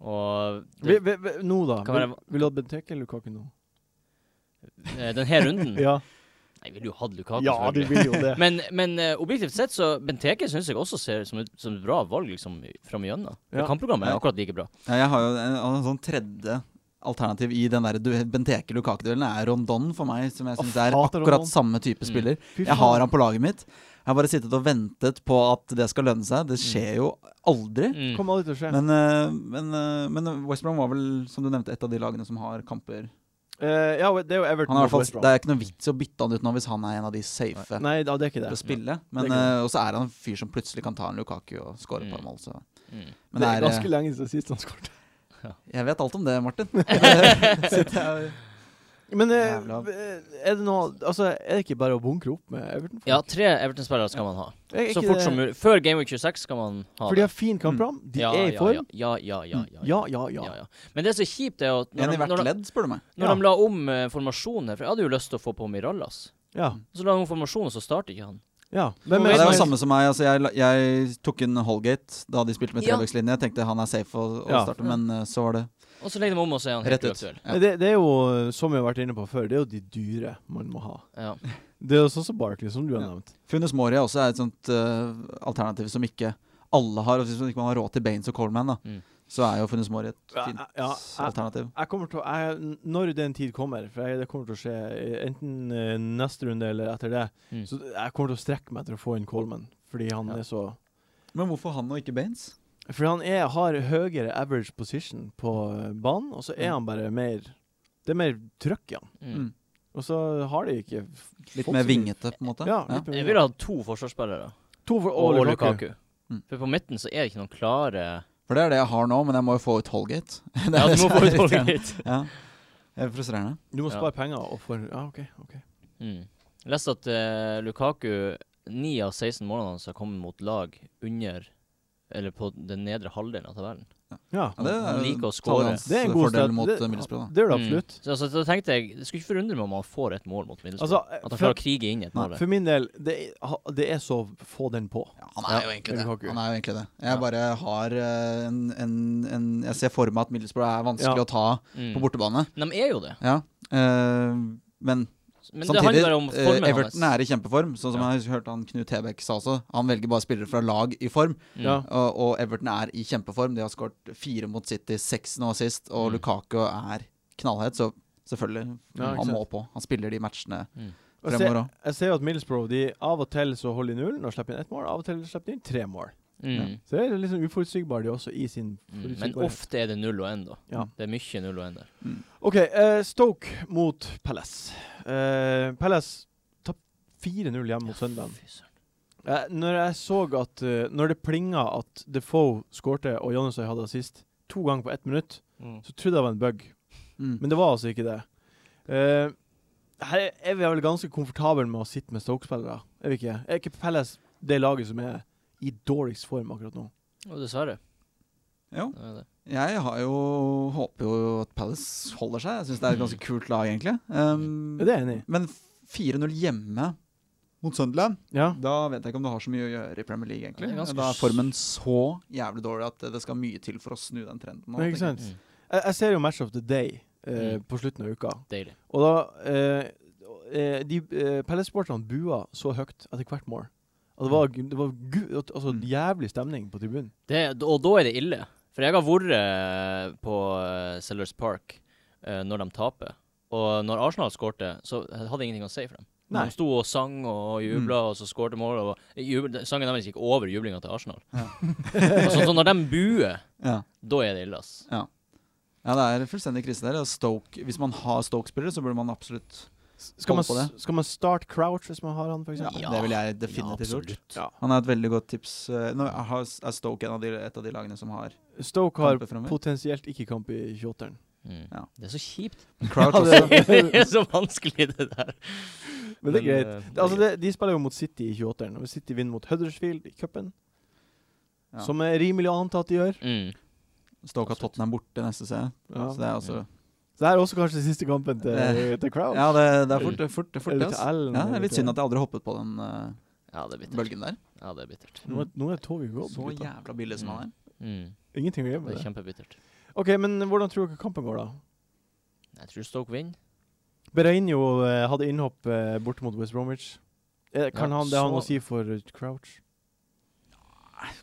B: Og
A: Vi,
B: det,
A: vi, vi, nå, da.
B: Kan
A: Vil,
B: være-
A: vil du ha Benteke eller Lukaku nå?
B: eh, den her runden
A: Ja,
B: Nei, jeg ville jo hatt Lukaku,
A: ja du
B: selvfølgelig.
A: vil jo det.
B: Men, men eh, objektivt sett så Benteke syns jeg også ser ut som et, som et bra valg liksom framigjennom.
A: Ja.
B: Ja. Kampprogrammet er akkurat like bra.
C: Ja, jeg har jo en, en sånn tredje alternativ i den der du- Benteke-Lukaku-duellen er Rondon for meg, som jeg
A: Å,
C: syns er
A: hater Rondon.
C: akkurat samme type spiller.
A: Fy
C: Jeg har han på laget mitt. Jeg har bare sittet og ventet på at det skal lønne seg. Det skjer jo aldri.
A: faen.
B: Mm.
A: Kommer aldri til å skje.
C: Men, eh, men, eh, men West Brom var vel, som du nevnte, et av de lagene som har kamper
A: Eh, ja, det er jo Everton.
C: han er i hvert
A: mot
C: fall,
A: West Brom.
C: Det er ikke noe vits i å bytte han ut nå hvis han er en av de safe
A: Nei, da, det er ikke det.
C: til å spille.
A: Det
C: Men,
A: er ikke
C: eh, og så er han en fyr som plutselig kan ta en Lukaku og score et par
B: Mm.
C: mål. Så.
B: Mm.
C: Men
A: det er
C: eh,
A: ganske lenge siden sist han skåret.
C: jeg vet alt om det, Martin. Sitter jeg-
A: Men eh,
C: Jævla.
A: er det noe Altså, er det ikke bare å bunkre opp med Everton?
B: Ja, tre Everton-spillere skal man ha.
A: Er ikke
B: Så fort
A: det-
B: som mulig. Før Game Week 26 skal man ha Mm.
A: For de har fin kampram, de
B: Ja,
A: er i
B: ja,
A: form.
B: Ja, ja, ja.
A: Mm. Ja, ja, ja.
B: ja, ja. Men det som er kjipt, er jo at
C: En
B: når,
C: i
B: de, når,
C: hvert
B: de,
C: ledd, spør du meg.
B: når
A: Ja.
B: de la om eh, formasjonen her, For jeg hadde jo lyst til å få på Mirallas.
A: Ja.
B: Så la de om formasjonen, så starter ikke han.
A: ja.
C: Ja,
B: Men-
C: det er
B: men-
C: jo samme som meg. Altså, jeg, la- jeg tok inn Holgate da de spilte med
B: Ja.
C: trevekslinje. Jeg tenkte han er safe å, å
A: Ja.
C: starte, men eh, så var det
B: Og så legger de om, og så er han
C: rett
B: helt
C: ut.
B: uaktuell.
C: Ja.
A: det, det er jo, som vi har vært inne på før, det er jo de dyre man må ha.
B: Ja.
A: Det er jo sånn som Barkley, som du har
C: Ja.
A: nevnt.
C: Funes Mori er også et sånt eh, alternativ som ikke alle har. og Hvis man ikke har råd til Baines og Coleman, da,
B: Mm.
C: så er jo Funes Mori et
A: Ja,
C: fint
A: ja, ja.
C: alternativ.
A: Jeg kommer til å, jeg, n- Når den tid kommer, for jeg, det kommer til å skje eh, enten eh, neste runde eller etter det,
B: Mm.
A: så jeg kommer til å strekke meg til å få inn Coleman, fordi han
B: Ja.
A: er så
C: Men hvorfor han og ikke Baines?
A: For han er, har høyere average position på eh, banen, og så er
C: Mm.
A: han bare mer Det er mer trøkk i han.
B: Mm.
C: Mm.
A: Og så har de ikke f-
C: Litt
A: fått
C: mer
A: så mye-
C: vingete, på en måte?
A: Ja, litt mer
B: Jeg
A: vingete.
B: ville hatt to forsvarsspillere.
A: To for
B: Og,
A: og Lukaku.
B: Lukaku.
C: Mm.
B: For på midten så er det ikke noen klare
C: For det er det jeg har nå, men jeg må jo få ut Holgate. Det er
B: Ja,
C: det
B: du
C: som
B: må få
C: er
B: ut
C: irriterende.
B: Holgate.
C: Ja. Det er frustrerende.
A: Du må
B: Ja.
A: spare penger og få Ja, OK. ok
B: Mm. Jeg leste at eh, Lukaku 9 av 16 målene hans har kommet mot lag under Eller på den nedre halvdelen av tabellen.
A: Ja.
C: Ja, det
B: Han
C: er,
B: liker å score.
C: tallet hans
A: Det er en god
C: fordel
A: sted.
C: mot
A: Det-
C: eh, Middlesbrough, da.
A: Det gjør det absolutt.
B: Mm. Så, altså, da tenkte jeg Det skulle ikke forundre meg om han får et mål mot Middlesbrough.
A: Altså,
B: At han
A: for,
B: klarer å krige inn i et
C: Nei,
B: mål. der.
A: for min del, det, er- ha- det er så få den på.
C: Ja, han er
B: Ja,
C: jo egentlig det.
A: Lukaku.
C: Han er jo egentlig det. Jeg
B: Ja.
C: bare har eh, en, en, en Jeg ser for meg at Middlesbrough er vanskelig
A: Ja.
C: å ta
B: Mm.
C: på bortebane.
B: Men de er jo det.
C: Ja. eh, men,
B: Men det
C: samtidig,
B: handler om
C: eh,
B: formen
C: Everton er i kjempeform. Sånn som
B: Ja.
C: jeg hørte han Knut Hebekk sa også. Han velger bare spillere fra lag i form.
B: Mm.
A: Ja.
C: Og, og Everton er i kjempeform. De har skåret fire mot City, seks nå sist. Og
B: Mm.
C: Lukaku er knallhet, så selvfølgelig.
A: Ja, ikke
C: han må
A: sant.
C: på. Han spiller de matchene
B: Mm.
A: Og se-
C: fremover òg.
A: Jeg ser jo at Middlesbrough de av og til så holder de nullen og slipper inn ett mål, av og til slipper de inn tre mål.
B: Mm.
A: Så det er liksom uforutsigbare, de også, i sin
B: Mm. Men
A: forutsigbarhet.
B: ofte er det null og én, da.
A: Ja.
B: Det er mye null og én der.
A: OK, eh, Stoke mot Palace. Eh, Palace tapte 4-0 hjemme mot Sunderland.
B: Fy søren.
A: Eh, når jeg så at eh, Når det plinga at Defoe skårte og Janusøy hadde assist to ganger på ett minutt,
B: Mm.
A: så trodde jeg det var en bug.
C: Mm.
A: Men det var altså ikke det. Eh, her er vi vel ganske komfortable med å sitte med Stoke-spillere, er vi ikke? Er ikke Palace det laget som er i dårligst form akkurat nå?
B: Og dessverre.
C: Jo.
B: Det er det.
C: Jeg har jo, håper jo at Palace holder seg. Jeg syns det er et ganske kult lag, egentlig. Um,
A: Er Mm. det er jeg enig i.
C: men 4-0 hjemme mot Sunderland,
A: Ja.
C: da vet jeg ikke om det har så mye å gjøre i Premier League, egentlig.
B: Det er ganske
C: da er formen så jævlig dårlig at det skal mye til for å snu den trenden. nå,
A: Nei, ikke
C: tenker jeg.
A: sant? Jeg, jeg ser jo Match of the Day eh,
B: Mm.
A: på slutten av uka.
B: Deilig.
A: Og da eh, eh, de, eh, Palace-sporterne bua så høyt etter hvert mål. Og det var, gu- det var gu, altså,
C: Mm.
A: jævlig stemning på tribunen.
B: Det, og da er det ille. For jeg har vært eh, på eh, Sellers Park eh, når de taper. Og når Arsenal skårte, så hadde jeg ingenting å si for dem.
A: Nei. Mm.
B: De sto og sang og jubla, og så skårte mål. Og eh, jubel, sangen deres gikk over jublinga til Arsenal.
C: Ja.
B: og så, så når de buer,
C: Ja.
B: da er det ille, ass.
C: ja, det er fullstendig krise der. og Stoke, hvis man har Stoke-spillere, så burde man absolutt
A: Skal man,
C: Hold på
A: s- skal man start Crouch hvis man har han, for eksempel?
C: Det ville jeg definitivt gjort.
B: absolutt.
A: Ja.
C: Han er et veldig godt tips. Eh, Nå har- er Stoke en av de, et av de lagene som har
A: Stoke har
C: kamper fremover.
A: potensielt ikke kamp i 28-eren.
B: Mm.
C: Ja.
B: Det er så kjipt.
C: Crouch
A: Ja, det-
C: også.
B: det er så vanskelig, det der.
A: Men det er greit.
B: eh,
A: Altså, det, de spiller jo mot City i 28-eren, og hvis City vinner mot Huddersfield i cupen,
C: Ja.
A: som er rimelig å anta at de gjør
B: mm.
C: Stoke har Tottenham borte neste sesong.
A: ja.
C: Så det er også
A: Så det er også kanskje siste kampen til, til Crouch.
C: Ja, det, det er fort, det er fort, det er fort
A: Eller
C: det,
A: til
C: ass.
A: Allen,
C: Ja, det
A: eller
C: er litt
A: til-
C: synd at jeg aldri hoppet på den eh,
B: Ja, det er bittert.
C: bølgen der.
B: Ja, det er bittert.
A: Nå er, nå er toget gått.
C: Så
A: gutta.
C: jævla billig som han er.
B: Mm.
A: Ingenting å gjøre med
B: Det er
A: det.
B: kjempebittert.
A: OK, men hvordan tror dere kampen går, da?
B: Jeg tror Stoke vinner.
A: Bereinjo eh, hadde innhopp eh, borte mot West Bromwich. Eh, kan
B: Ja,
A: han det har han å
B: så-
A: si for eh, Crouch?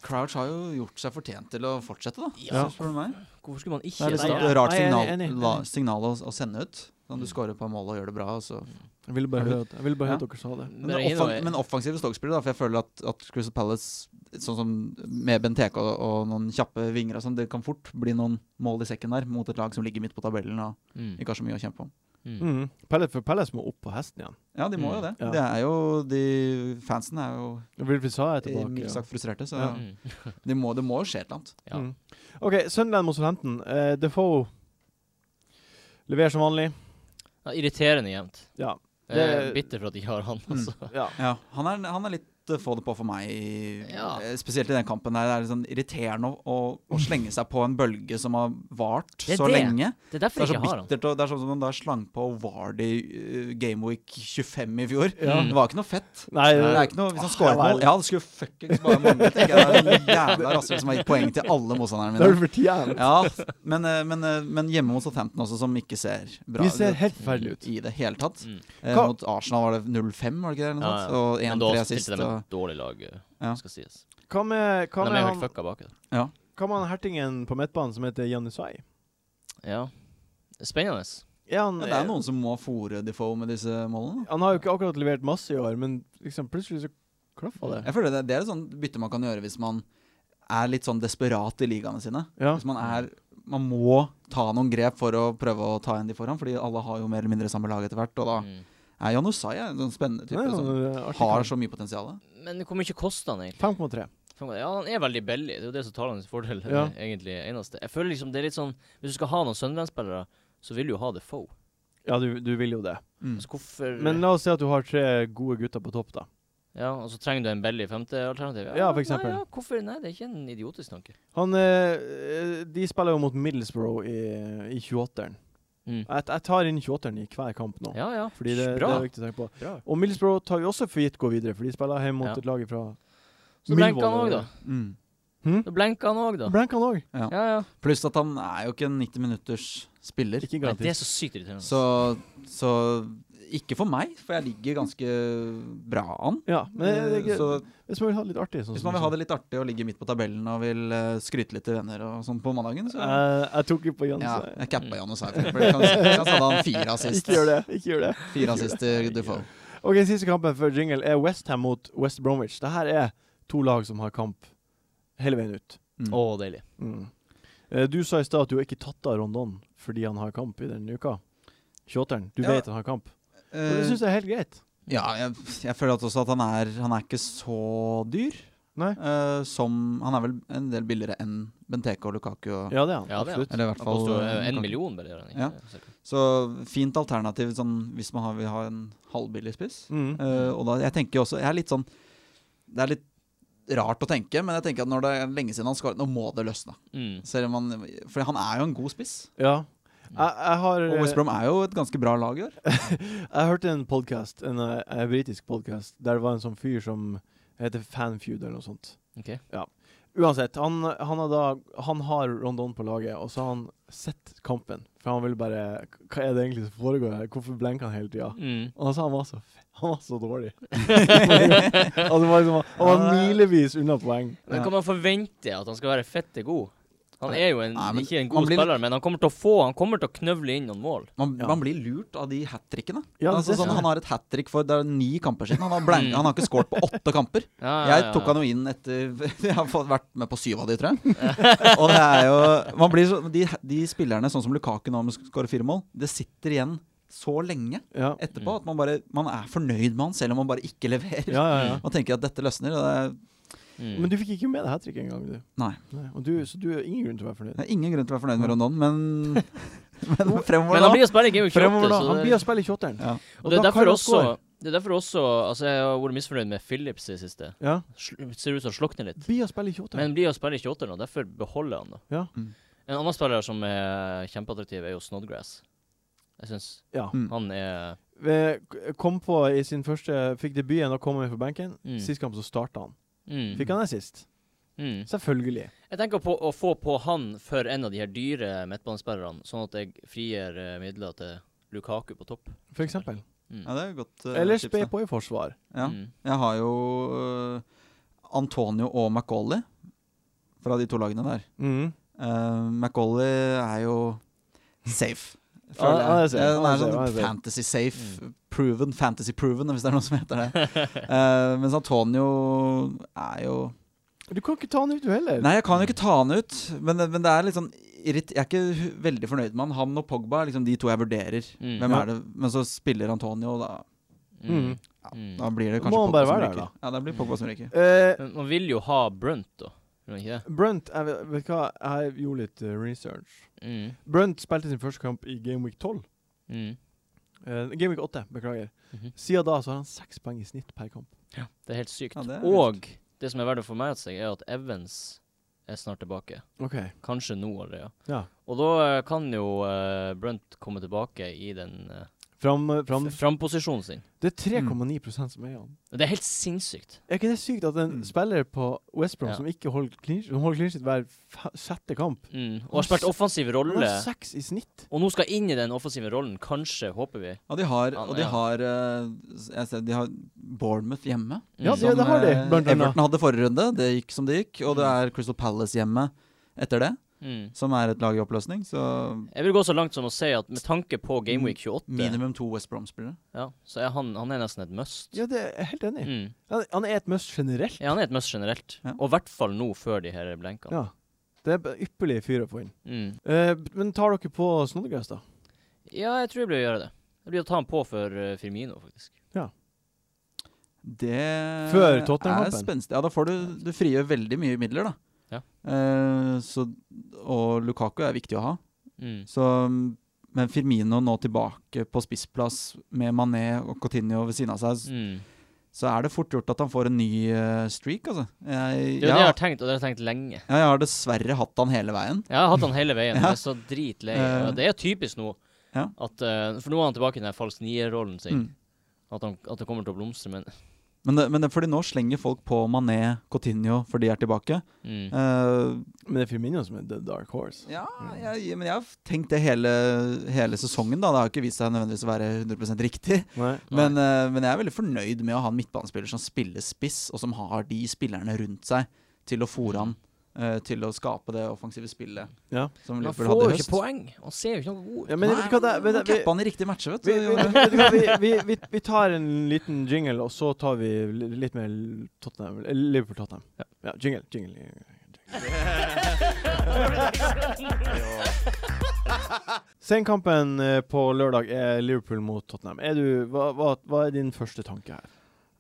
C: Crouch har jo gjort seg fortjent til å fortsette, da.
A: Ja.
C: Så Spør du meg.
B: Hvorfor skulle man ikke
C: Det er litt
A: Nei, ja.
C: sånn et rart
A: Nei, jeg er
C: signal,
A: enig, enig,
C: la,
A: enig.
C: signal å, å sende ut. Sånn, du scorer på mål og gjør det bra. og Så.
A: Jeg ville bare
C: Er du-
A: høre at, jeg ville bare høre
C: Ja.
A: at dere sa det.
C: Men, det er offan men offensive Stoke-spillere, da. For jeg føler at, at Crystal Palace, sånn som med Benteke og, og noen kjappe vinger og sånn, det kan fort bli noen mål i sekken der mot et lag som ligger midt på tabellen og
B: Mm.
C: ikke har så mye å kjempe om.
B: Mm.
A: Mm. Pelle, for Pelles må opp på hesten igjen.
C: Ja, de må jo det.
A: Ja.
C: Det er jo de Fansen er jo
A: Wilfred Sa er
C: eh,
A: tilbake.
C: mildt sagt frustrerte, så
A: Ja.
B: Mm.
C: det må det må jo skje et eller annet.
B: Ja.
A: Mm. OK, Sunderland mot Southampton. Uh, Defoe leverer som vanlig.
B: Ja, irriterende jevnt.
A: Ja.
B: Det
A: Det-
B: er bitter for at de har han,
C: Mm.
B: altså.
A: ja.
C: Ja, han er, han er litt eh, få det på for meg, i-
B: Ja.
C: eh, spesielt i den kampen. der Det er litt sånn irriterende å, å, å slenge seg på en bølge som har vart
B: Det er
C: så
B: det.
C: lenge.
B: Det er
C: Det
B: derfor
C: er
B: jeg
C: så
B: ikke har han.
C: bittert. Og det er sånn som man da slang på Vardy uh, Gameweek 25 i fjor.
A: Ja.
C: Det var ikke noe fett.
A: Nei,
C: Det er ikke noe, Hvis han scorer et
A: Ah,
C: mål Ja, det skulle fuckings bare mangle. tenker jeg. Det er en jævla rasshøl som har gitt poeng til alle motstanderne
A: det er
C: mine.
A: vel fortjent.
C: Ja, men, eh, men, eh, men hjemme mot Southampton også, som ikke ser bra
A: Vi ser helt forferdelig ut.
C: i det hele tatt.
B: Mm.
C: Eh,
A: Hva-
C: mot Arsenal var det 0-5, var det ikke det? Eller noe
B: Ja,
C: sånt?
B: ja. Men da
C: Og 1-3
B: stilte
C: sist.
B: de
C: Og...
B: et dårlig lag, eh,
C: Ja.
B: skal sies.
A: Hva med, hva
B: Men de
A: med,
B: er helt
A: han,
B: fucka bak. da.
A: hva med han hertingen på midtbanen som heter Janusai?
B: Ja. Spennende.
A: Er han,
C: Ja, det er noen som må fòre Defoe med disse målene. da.
A: han har jo ikke akkurat levert masse i år, men liksom plutselig så klaffa det.
C: Jeg føler det, det er et sånt bytte man kan gjøre hvis man er litt sånn desperat i ligaene sine.
A: Ja.
C: Hvis man er Man må ta noen grep for å prøve å ta en de foran, fordi alle har jo mer eller mindre samme lag etter hvert. Og da
B: Mm.
C: er Jan Osai en sånn spennende type
A: Nei,
C: som
A: han er eh, artig
C: har
A: kar.
C: så mye potensial. da.
B: Men hvor mye koster han egentlig?
A: 5,3.
B: Faen, Ja, han er veldig billig. Det er jo det som tar hans fordel.
A: Ja.
B: eh, egentlig eneste. Jeg føler liksom det er litt sånn Hvis du skal ha noen Sunderland-spillere, så vil du jo ha det få.
A: Ja, du, du vil jo det.
C: Mm.
B: Altså, hvorfor
A: Men la oss si at du har tre gode gutter på topp, da.
B: Ja, Og så trenger du en billig femtealternativ.
A: Ja, for eksempel.
B: Nei, ja, hvorfor? Nei, det er ikke en idiotisk tanke.
A: Han, eh, de spiller jo mot Middlesbrough i, i 28-eren.
B: Mm.
A: Jeg, jeg tar inn 28-eren i hver kamp nå.
B: Ja, ja.
A: Fordi det, det
B: Bra.
A: er viktig å tenke på.
B: Bra.
A: Og Middlesbrough tar vi også for gitt gå videre, for de spiller hjemme mot
B: Ja.
A: et lag fra
B: Så
A: Millwall,
B: blenker han òg, da.
A: eller?
C: Mm.
A: hm?
B: Da blenker han òg, da.
A: Blank han òg.
B: Ja, ja.
C: Pluss at han er jo ikke en 90 minutters spiller.
A: Ikke
B: Nei, det er
A: garantist.
B: så sykt irriterende.
C: Så, så ikke for meg, for jeg ligger ganske bra an. Eh,
A: Ja, men det, det er ikke,
C: Så
A: hvis man vil ha det litt artig sånn
C: hvis
A: som
C: man vil ha
A: du
C: det litt artig og ligger midt på tabellen og vil eh, skryte litt til venner og sånn på mandagen,
A: sa.
C: så
A: Jeg- Jeg tok ikke på Jens.
C: ja,
A: jeg.
C: jeg cappa Janus her. For det kan, kan sa han fire assist.
A: Ikke gjør det. ikke gjør det
C: Fire assist til Defoe.
A: Ok, Siste kampen før jingle er Westham mot West Bromwich. Dette er to lag som har kamp hele veien ut.
C: Mm.
B: Å, deilig.
A: Mm. Eh, Du sa i stad at du har ikke tatt av Rondon fordi han har kamp i denne uka. 28-eren. Du
C: Ja. Eh.
A: vet han har kamp. Og det syns jeg er helt greit.
C: Ja, jeg, jeg føler at også at han er, han er ikke så dyr.
A: Nei.
C: eh, som Han er vel en del billigere enn Benteke og Lukaku. Og,
A: Ja, det er han.
B: Ja, det er han.
A: absolutt.
C: Eller i hvert
B: Han
C: fall
B: koster jo
C: eh,
B: en
C: Lukaku.
B: million, bare. gjør han ikke
C: Ja.
B: det? Cirka.
C: Så fint alternativ sånn, hvis man har, vil ha en halvbillig spiss.
A: Mm.
C: Eh, og da, jeg tenker jo også Jeg er litt sånn Det er litt rart å tenke, men jeg tenker at når det er lenge siden han skåret, nå må det løsne.
B: Mm.
C: Selv om han, for han er jo en god spiss.
A: Ja. Jeg, jeg har
C: Og West
A: eh,
C: Brom er jo et ganske bra lag i år.
A: Jeg hørte en podcast, en, eh, en britisk podcast, der det var en sånn fyr som heter Fanfeud eller noe sånt.
B: Ok.
A: Ja. Uansett, han, han, har da, han har Rondon på laget, og så har han sett kampen. For han ville bare Hva er det egentlig som foregår her? Hvorfor blenker han hele tida?
B: Mm.
A: Og han sa han var så, f- han var så dårlig. Og det var liksom, han var milevis unna poeng.
B: Men kan man forvente at han skal være fette god? Han er jo en,
C: Nei, men
B: ikke
C: han
B: en god
C: blir litt-
B: spiller, men han kommer til å få Han kommer til å knøvle inn noen mål.
C: Man,
A: Ja.
C: man blir lurt av de hat trickene.
A: Ja, det
C: altså,
A: er
C: sånn,
A: sant.
C: han har et hat trick for det er ni kamper siden. Han har, blank,
B: Mm.
C: han har ikke skåret på åtte kamper.
B: Ja, ja,
C: Jeg
B: ja.
C: tok han jo inn etter Jeg har fått, vært med på syv av de, tror jeg. Og det er jo man blir så, de, de spillerne, sånn som Lukaku nå, om han skårer fire mål, det sitter igjen så lenge
A: Ja,
B: Mm.
C: etterpå at man bare man er fornøyd med han, selv om man bare ikke leverer.
A: ja, ja. ja.
C: Man tenker at dette løsner. Og det er,
B: Mm.
A: Men du fikk ikke med deg hat trick engang, du.
C: nei.
A: Nei. Og du. Så du har ingen grunn til å være fornøyd.
C: Det er ingen grunn til å være fornøyd med Rondon, men, men fremover
B: men
C: nå
B: han blir å spille i Game of
A: Fremover
B: 28,
A: da.
B: så
A: Han
B: det-
A: blir å spille i kjotteren.
C: Ja.
B: og det
A: da
B: er
A: kan
B: derfor
A: han
B: også
A: score.
B: Det er derfor også Altså, jeg har vært misfornøyd med Phillips i siste.
A: Ja.
B: Sl- Ser ut som slukner litt.
A: Blir å spille i kjotteren.
B: Men blir å spille i 28 nå, derfor beholder jeg han, da.
A: Ja.
C: Mm.
B: En annen spiller som er kjempeattraktiv, er jo Snodgrass. Jeg syns
A: Ja.
C: Mm.
B: han er
A: Eh, k- Kom på i sin første Fikk debuten og kom inn for benken.
B: Mm.
A: Sist kamp så starta han.
B: mm,
A: Fikk han assist?
B: Mm.
A: Selvfølgelig.
B: Jeg tenker på å få på han for en av de her dyre midtbanespillerne, sånn at jeg frigir eh, midler til Lukaku på topp.
A: For eksempel.
B: Mm.
C: Ja, det er godt. Uh,
A: Eller spe på i forsvar.
C: Ja.
B: Mm.
C: Jeg har jo øh, Antonio og Macauley fra de to lagene der.
A: Mm.
C: Uh, Macauley er jo safe.
A: Ja, han er safe,
C: Eh,
A: han er safe,
C: Han er
A: han er
C: sånn
A: safe. Mm.
C: fantasy safe,
B: Mm.
C: proven, fantasy proven, hvis det er noe som heter det. Eh, mens Antonio er jo
A: Du kan ikke ta han ut, du heller.
C: Nei, jeg kan jo ikke ta han ut, men, men det er litt sånn irrit... Jeg er ikke hu- veldig fornøyd med han. Han og Pogba er liksom de to jeg vurderer.
B: Mm.
C: Hvem
A: Ja.
C: er det? Men så spiller Antonio, og da,
B: Mm.
A: Mm.
C: ja,
B: Mm.
C: da blir det
A: Da
C: kanskje
A: må han
C: Pogba
A: bare
C: som
A: være der,
C: ryker. Ja, da blir Pogba som ryker.
A: Eh,
B: Men man vil jo ha Brunt, da. Gjør man ikke det?
A: Brunt jeg vet, vet du hva, jeg gjorde litt eh, research.
B: Mm.
A: Brunt spilte sin første kamp i Game Week 12.
B: Mm.
A: Eh, Game Week 8, beklager.
B: Mhm.
A: Siden da så har han seks poeng i snitt per kamp.
B: Det er helt sykt.
C: Ja, det er
B: og det som er verdt å få med seg, er at Evans er snart tilbake.
A: Ok.
B: Kanskje nå allerede.
A: Ja.
B: Og da eh, kan jo eh, Brunt komme tilbake i den eh,
A: Fram, eh, fram.
B: f- framposisjonen sin.
A: Det er 3,9 som eier han.
B: Det er helt sinnssykt.
A: Mm. Er ikke det sykt at en
C: Mm.
A: spiller på West Brom
B: Ja.
A: som ikke holder clean som holder clean sheet hver fe- sjette kamp
B: Mm.
A: Han
B: Og har spilt
A: s-
B: offensiv
A: Han
B: rolle.
A: har seks i snitt.
B: Og nå skal inn i den offensive rollen, kanskje, håper vi.
C: Og de har,
B: Ja,
C: og de
B: ja.
C: har, eh, jeg ser, de har Bournemouth hjemme.
A: Ja,
B: Mm.
A: det- det har de,
C: eh,
A: blant annet.
C: Everton hadde forrige runde, det gikk som det gikk. Og det er Crystal Palace hjemme etter det,
B: Mm.
C: som er et lag i oppløsning. Så
B: Jeg vil gå så langt som å si at med tanke på Gameweek 28,
C: minimum to West Brom-spillere.
B: ja, så er han, han er nesten et must.
A: Ja, det er jeg helt enig. i.
B: Mm.
A: Han, han er et must generelt.
B: Ja, han er et must generelt.
C: Ja.
B: Og i hvert fall nå, før de her blenkene.
A: Ja. Det er bare ypperlige fyr å få inn.
B: Mm.
A: Eh, b- men tar dere på Snodgrass, da?
B: Ja, jeg tror jeg blir å gjøre det. Jeg blir å ta han på for eh, Firmino, faktisk.
C: Det
A: Før
C: er
A: Tottenham-kampen.
C: spenstig. Ja, da får du, du frigjør veldig mye midler, da.
B: Ja.
C: Eh, så, og Lukaku er viktig å ha.
B: Mm.
C: Så, men Firmino nå tilbake på spissplass med Mané og Coutinho ved siden av seg,
B: Mm.
C: så er det fort gjort at han får en ny eh, streak, altså. Jeg,
B: Det er jo det jeg har tenkt, og det har jeg tenkt lenge.
C: Ja, jeg har dessverre hatt han hele veien.
B: Jeg har hatt han hele veien.
C: Ja. Eh.
B: Jeg er så dritlei. Ja, det er typisk nå.
C: Ja.
B: At, eh, for nå er han tilbake i den der falsk nier-rollen sin.
C: Mm.
B: At, han, at det kommer til å blomstre, men
C: Men, det, men det, fordi nå slenger folk på Mané, Coutinho, for de er tilbake.
B: mm.
C: Eh,
A: Men det er Firmino som er the dark horse.
C: ja, jeg, men jeg har tenkt det hele, hele sesongen, da. Det har ikke vist seg nødvendigvis å være 100 riktig.
A: Nei.
C: Men, eh, men jeg er veldig fornøyd med å ha en midtbanespiller som spiller spiss, og som har de spillerne rundt seg til å fòre han. eh, Til å skape det offensive spillet
A: Ja.
C: som
B: Men Han
C: Liverpool
B: får
C: hadde
B: jo
C: i
B: ikke
C: høst.
B: poeng. Han ser jo ikke noe god ut.
A: Ja, men
C: Nei,
A: vet du hva det vet
C: man
A: du-
C: cappa han i riktig matche, vet
A: vi,
C: du.
A: vi, vet du hva, vi, vi, vi, vi tar en liten jingle, og så tar vi li- litt mer Tottenham, eller Liverpool-Tottenham. Ja. jingle, jingle. jingle. Senkampen eh, på lørdag er Liverpool mot Tottenham. Er du, hva, hva, hva er din første tanke her?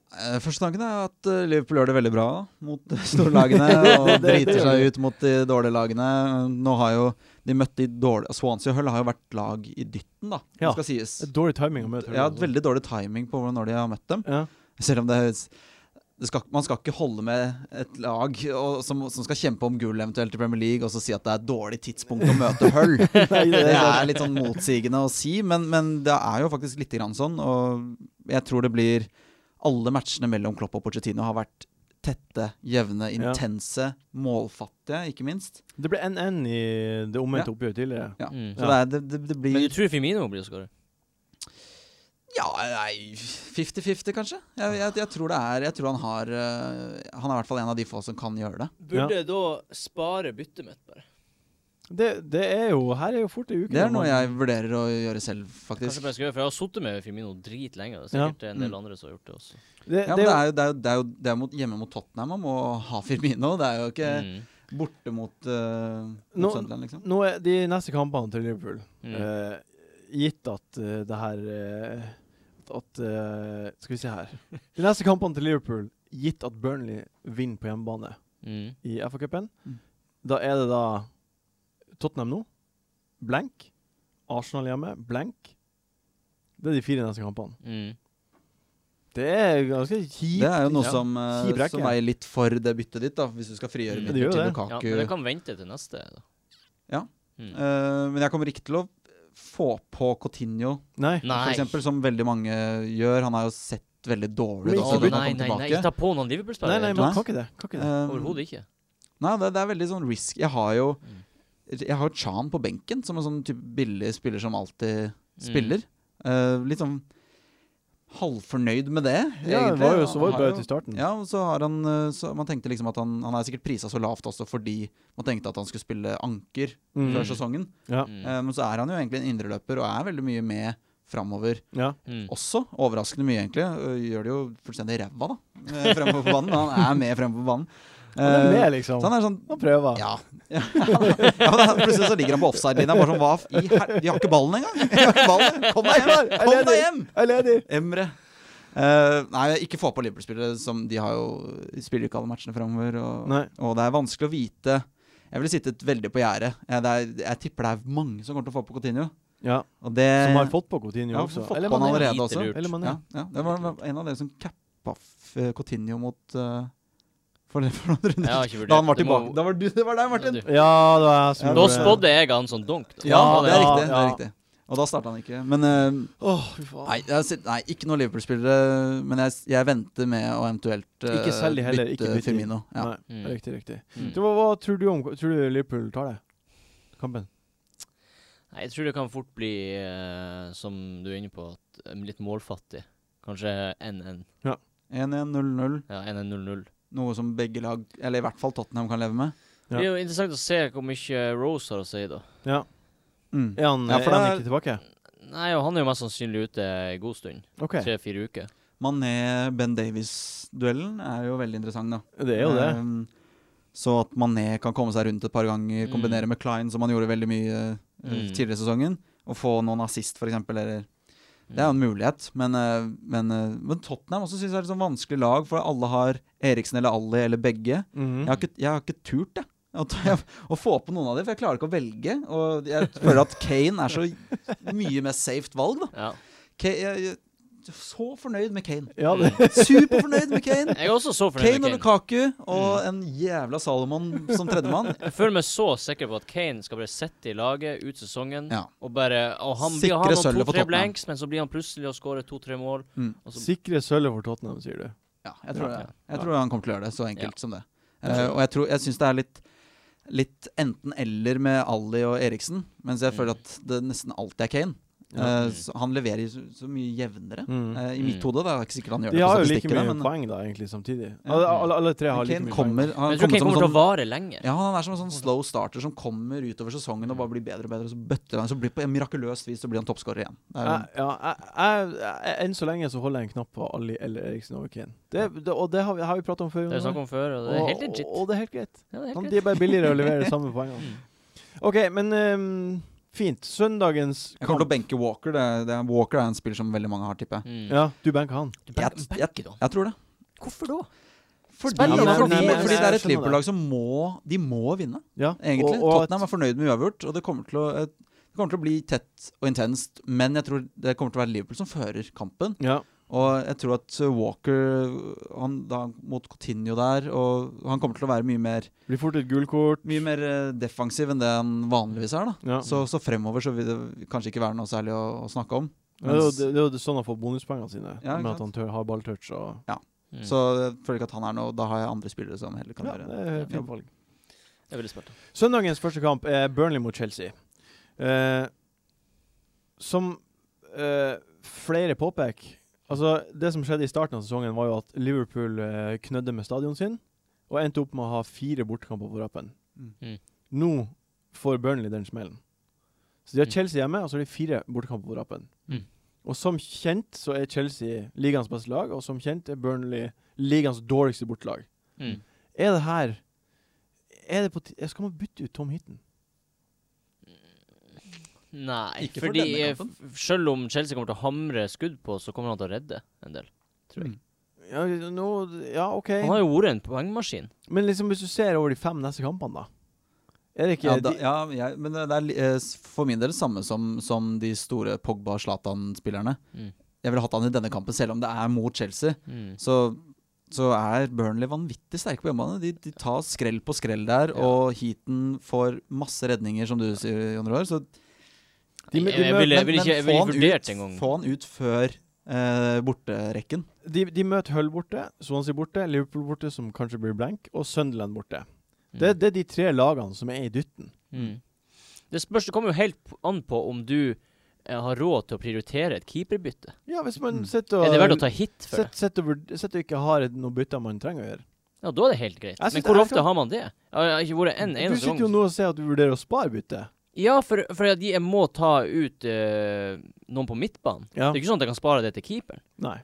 C: Eh, Første tanken er at eh, Liverpool gjør det veldig bra mot de store lagene og
A: Det- det
C: driter
A: gjør
C: seg
A: de.
C: ut mot de dårlige lagene. Nå har jo de møtt de dårlige Swansea og Hull har jo vært lag i dytten, da.
A: Ja.
C: Det skal sies.
A: Det er Dårlig timing å møte
C: Ja, veldig dårlig timing på når de har møtt dem.
A: Ja.
C: Selv om det er det skal, Man skal ikke holde med et lag og, som, som skal kjempe om gull eventuelt i Premier League, og så si at det er et dårlig tidspunkt å møte Hull.
A: Nei, det, er
C: Det
A: sant.
C: er litt sånn motsigende å si, men, men det er jo faktisk lite grann sånn. Og jeg tror det blir Alle matchene mellom Klopp og Pochettino har vært tette, jevne,
A: Ja.
C: intense, målfattige, ikke minst.
A: det ble NN i det omvendte oppgjøret tidligere.
C: Ja.
B: Mm.
C: Så det, er, det, det, det
B: Men du
C: blir
B: tror Firmino blir å skåre?
C: Ja, nei 50-50, kanskje. Jeg, jeg, jeg tror det er Jeg tror han har øh, Han er i hvert fall en av de få som kan gjøre det.
A: Burde
B: da spare byttet mitt, bare.
A: Det, det er jo Her er jo fort ei uke.
C: Det er
A: når
C: noe
A: man-
C: jeg vurderer å gjøre selv,
B: Kanskje
C: faktisk.
B: bare skal gjøre, for jeg har sittet med Firmino dritlenge. Det er sikkert en del
C: Mm.
B: andre som har gjort det også.
A: det,
C: Ja, men det er jo, det er jo, det er jo, det er jo mot, hjemme mot Tottenham man må ha Firmino. Det er jo ikke
B: Mm.
C: borte mot, øh, mot
A: Nå-
C: Sunderland, liksom.
A: Nå er de neste kampene til Liverpool
B: Mm.
A: eh, Gitt at eh, det her eh, At eh, Skal vi se her. De neste kampene til Liverpool, gitt at Burnley vinner på hjemmebane
B: Mm.
A: i FA-cupen,
C: Mm.
A: da er det da Tottenham nå, blank. Arsenal hjemme, blank. Det er de fire neste kampene.
B: Mm.
A: Det er ganske kjipt.
C: Det er jo noe
A: Ja.
C: som, eh,
A: Kjip rekke.
C: som veier litt for det byttet ditt, da, hvis du skal frigjøre
B: Mm.
C: byttet
A: Det gjør
C: til
A: det.
B: Ja,
C: Lukaku.
B: men
C: Eh, men,
B: det kan vente til neste. Da.
C: Ja. Eh,
B: Mm.
C: jeg kommer ikke til å få på Cotinho,
A: Nei.
C: for
B: Nei.
C: eksempel, som veldig mange gjør. Han har jo sett veldig dårlig
A: Men
C: ut
A: ikke
B: Å,
A: så
C: siden
A: bytte
B: nei,
C: han
B: nei,
C: kom
B: nei, ikke
C: tilbake.
B: ta på noen
A: Nei,
B: Liverpool-spillere.
A: nei,
B: i det hele
A: man
C: Nei.
A: kan ikke det. Kan ikke det.
B: tatt.
C: Eh,
B: Overhodet ikke.
C: Nei, det, det er veldig sånn risk. Jeg har jo
B: Mm.
C: Jeg har jo Chan på benken, som en sånn type billig spiller som
B: Mm.
C: alltid spiller. Eh, litt sånn halvfornøyd med Eh, det,
A: Ja, det var jo så var
C: Han
A: det
C: har
A: bra
C: jo-
A: til starten.
C: Ja, og så har han eh, så Man tenkte liksom at han, han er sikkert prisa så lavt også fordi man tenkte at han skulle spille anker
A: Mm.
C: før sesongen.
A: Ja.
B: Mm.
C: Eh, Men så er han jo egentlig en indreløper og er veldig mye med framover
A: Ja.
B: Mm.
C: også. Overraskende mye, egentlig. Eh, Gjør det jo fullstendig ræva, da, eh, fremover på banen. Han er med fremover på banen.
A: Han er med,
C: Eh,
A: liksom.
C: Så han er sånn
A: Han prøver.
C: ja. ja. men da- Plutselig så ligger han på offside-linja bare sånn Hva f- i her... Vi har ikke ballen engang! Vi har ikke ballen. Kom deg hjem! Kom deg hjem!
A: Jeg er ledig!
C: Emre. Eh, nei, ikke få på Liverpool-spillere. som De har jo spiller ikke alle matchene framover. Og,
A: Nei.
C: og det er vanskelig å vite. Jeg ville sittet veldig på gjerdet. Jeg, det er- jeg tipper det er mange som kommer til å få på Coutinho.
A: Ja.
C: Og det,
A: Som har fått på Coutinho
C: Eh, Ja,
A: også.
C: fått
A: Eller
C: på han
A: Mané.
C: allerede
B: lite
C: også.
B: lurt.
A: Eller Mané.
C: Ja, ja. Det var var en av dere som cappa f- Coutinho mot eh, for, for noen
B: Jeg
C: runder
B: har ikke vurdert
C: da han var
B: det. Det må-
C: tilbake. Da var du, det var deg, Martin!
B: Ja, du.
A: Ja, det var jeg som
C: Ja,
B: Da
A: gjorde det.
B: spådde jeg han sånn donk. Da.
C: Ja, det er
A: ja,
C: riktig. Det er
A: ja.
C: riktig. Og da starta han ikke. Men eh,
A: Åh, fy faen.
C: Nei, jeg har sett- nei, ikke noen Liverpool-spillere, men jeg, jeg venter med å eventuelt eh,
A: Ikke selg de heller, ikke bytte de.
C: Firmino. Ja.
A: Nei,
B: Mm.
A: Riktig, riktig.
B: Mm.
A: Du, hva, hva tror du om Tror du Liverpool tar det? Kampen?
B: Nei, jeg tror det kan fort bli, eh, som du er inne på, at, eh, litt målfattig. Kanskje 1-1.
C: 1-1-0-0,
B: Ja, 1-1-0-0.
C: noe som begge lag, eller i hvert fall Tottenham, kan leve med.
A: Ja.
B: Det er jo interessant å se hvor mye Rose har å si, da.
A: Ja.
C: Mm.
A: Er han,
C: Ja, for
A: er han
C: det er-
A: ikke tilbake?
B: Nei, og han er jo mest sannsynlig ute en god stund.
A: OK.
B: Tre-fire uker.
C: Mané-Ben Davies-duellen er jo veldig interessant, da.
A: Det er jo det.
C: Ehm, så at Mané kan komme seg rundt et par
A: Mm.
C: ganger, kombinere med Klein, som han gjorde veldig mye eh,
B: Mm.
C: tidligere i sesongen, og få noen assist, f.eks., eller
B: Mm.
C: Det er jo en mulighet, men, eh, men, eh, men Tottenham også synes jeg er et sånn vanskelig lag, for alle har Eriksen eller Alli eller begge.
A: Mhm.
B: Mm.
C: Jeg har ikke, jeg har ikke turt, jeg. Å, ta- å få på noen av dem, for jeg klarer ikke å velge. Og jeg føler at Kane er så mye mer safe valg, da.
B: Ja.
C: Ka- jeg, jeg, så fornøyd med Kane.
A: Ja, det
C: Superfornøyd med Kane!
B: Mm. Jeg er også så fornøyd
C: Kane og
B: med Kane. Mm.
C: Lukaku og en jævla Salomon som tredjemann.
B: Jeg føler meg så sikker på at Kane skal bare sitte i laget ut sesongen
C: Ja.
B: og bare og han
C: Sikre
B: blir han
C: sølvet for
B: to-tre
C: Tottenham.
B: blanks, men så blir han plutselig og skårer to-tre mål.
C: Mm.
B: Og så,
A: Sikre sølvet for Tottenham, sier du.
C: Ja, jeg tror,
B: Ja.
C: det. jeg tror han kommer til å gjøre det, så enkelt som det.
A: Jeg tror
C: Eh,
A: det.
C: og jeg, tror, jeg syns det er litt, litt enten-eller med Ali og Eriksen, mens jeg
B: Mm.
C: føler at det nesten alltid er Kane.
A: Ja.
C: Eh, så han leverer så, så mye jevnere.
A: Mm.
C: eh, I
B: Mm.
C: mitt hode, da. Det er ikke sikkert han gjør
A: De
C: det på
A: har jo like
C: statistikkene,
A: mye
C: men, eh,
A: poeng, da, egentlig, samtidig.
C: Ja.
A: Alle, alle, alle tre har like
C: men Kane
A: mye poeng.
C: kommer,
B: men
C: han
B: jeg tror
C: kommer
B: Kane
C: som en
B: kommer til å
C: sånn
B: vare lenger.
C: ja, han er som en sånn slow starter som kommer utover sesongen og bare blir bedre og bedre. Og så bøtter han, så blir på mirakuløst vis så blir han toppskårer igjen. Det er,
A: Jeg, ja, jeg, jeg, jeg, enn så lenge så holder jeg en knapp på Ali eller Eriksen over Kane. Det, det, og det har vi, har vi prata om før.
B: Det
A: Jonar.
B: er snakk om før, og det er helt legit.
A: Og, og det er helt greit.
B: Ja, det er
A: Han,
B: helt
A: de
B: greit.
A: er bare billigere å levere de samme poengene. OK, men altså. ehm, Fint. Søndagens
C: Jeg kommer til å benke Walker. Det, det, Walker er en spiller som veldig mange har, tipper jeg.
B: Mm.
A: Ja, du banker han.
B: Du
C: Jeg-
B: back- backer da.
C: Jeg tror det.
B: Hvorfor da?
C: Fordi,
B: Spennende.
C: fordi,
B: Nei, men-
C: fordi det er
A: jeg
C: et
A: skjønner
C: Liverpool-lag som må De må vinne,
A: Ja.
C: egentlig.
A: Og, og at,
C: Tottenham er fornøyd med uavgjort, og det kommer, til å, eh, det kommer til å bli tett og intenst. Men jeg tror det kommer til å være Liverpool som fører kampen.
A: ja.
C: Og jeg tror at eh, Walker han, da, mot Coutinho der og Han kommer til å være mye mer,
A: Blir fort et gullkort.
C: mye mer eh, defensiv enn det han vanligvis er. da
A: Ja.
C: så, så fremover så vil det kanskje ikke være noe særlig å, å snakke om.
A: Ja, det, er jo-
C: mens-
A: det, det er jo sånn han får bonuspengene sine,
C: Ja, ikke
A: med at
C: sant?
A: han tør, har balltouch og
B: Mm.
C: Så jeg føler ikke at han er noe Da har jeg andre spillere som heller kan
A: Ja,
C: gjøre
A: det er et
C: Ja.
A: fint valg.
B: Det er veldig smart.
A: Søndagens første kamp er Burnley mot Chelsea. Eh, som eh, flere påpeker Altså, det som skjedde i starten av sesongen, var jo at Liverpool eh, knødde med stadionet sin og endte opp med å ha fire bortekamper på rappen.
C: Mm.
B: Mm.
A: Nå får Burnley den smellen. Så de har
B: Mm.
A: Chelsea hjemme, og så har de fire bortekamper på rappen.
B: Mm.
A: Og som kjent så er Chelsea ligaens beste lag, og som kjent er Burnley ligaens dårligste bortelag.
B: Mm.
A: Er det her er det på ti- Skal man bytte ut Tom Hitten?
B: Nei,
C: Ikke for
B: fordi
C: denne
B: eh, f- selv om Chelsea kommer til å hamre skudd på, så kommer han til å redde en del. tror jeg.
C: Mm.
A: Ja, nå, ja OK.
B: Han har jo vært en poengmaskin.
A: Men liksom hvis du ser over de fem neste kampene, da Er det ikke
C: Ja, da,
A: de,
C: ja jeg, men det er li- eh, s- for min del samme som, som de store Pogba og Zlatan-spillerne.
B: Mm.
C: Jeg ville hatt han i denne kampen, selv om det er mot Chelsea. Så, så er Burnley vanvittig sterke på hjemmebane. De, de tar skrell på skrell der,
B: Ja.
C: og Heaton får masse redninger, som du sier, Jon Roar. Så
A: De- de
B: jeg, jeg
A: møter-
B: ville, jeg
C: men-
B: ville
C: men
B: ikke, jeg
C: få
B: ville
C: han
B: ikke vurdert
C: ut-
B: engang.
C: Få han ut før eh, borterekken.
A: de, de møter Hull borte, Swansea borte, Liverpool borte, som kanskje blir blank, og Sunderland borte. Det, det er de tre lagene som er i dytten.
B: Mm. Det spørs, det kommer jo helt p- an på om du eh, har råd til å prioritere et keeperbytte.
A: Ja, hvis man
C: Mm.
A: sitter og
B: Er det verdt å ta hit for
A: sitter-
B: det?
A: sitter og vurd- sitter og ikke har et- noen bytter man trenger å gjøre.
B: Ja, da er det helt greit.
A: Jeg synes
B: Men
A: det
B: hvor
A: er
B: ofte
A: så-
B: har man det? Ja, Jeg har ikke vært en
A: du
B: eneste
A: sitter
B: gang.
A: jo nå og sier at du vurderer å spare byttet.
B: Ja, for, for at jeg må ta ut eh, noen på midtbanen.
A: Ja.
B: Det er ikke sånn at jeg kan spare det til keeperen.
A: Nei.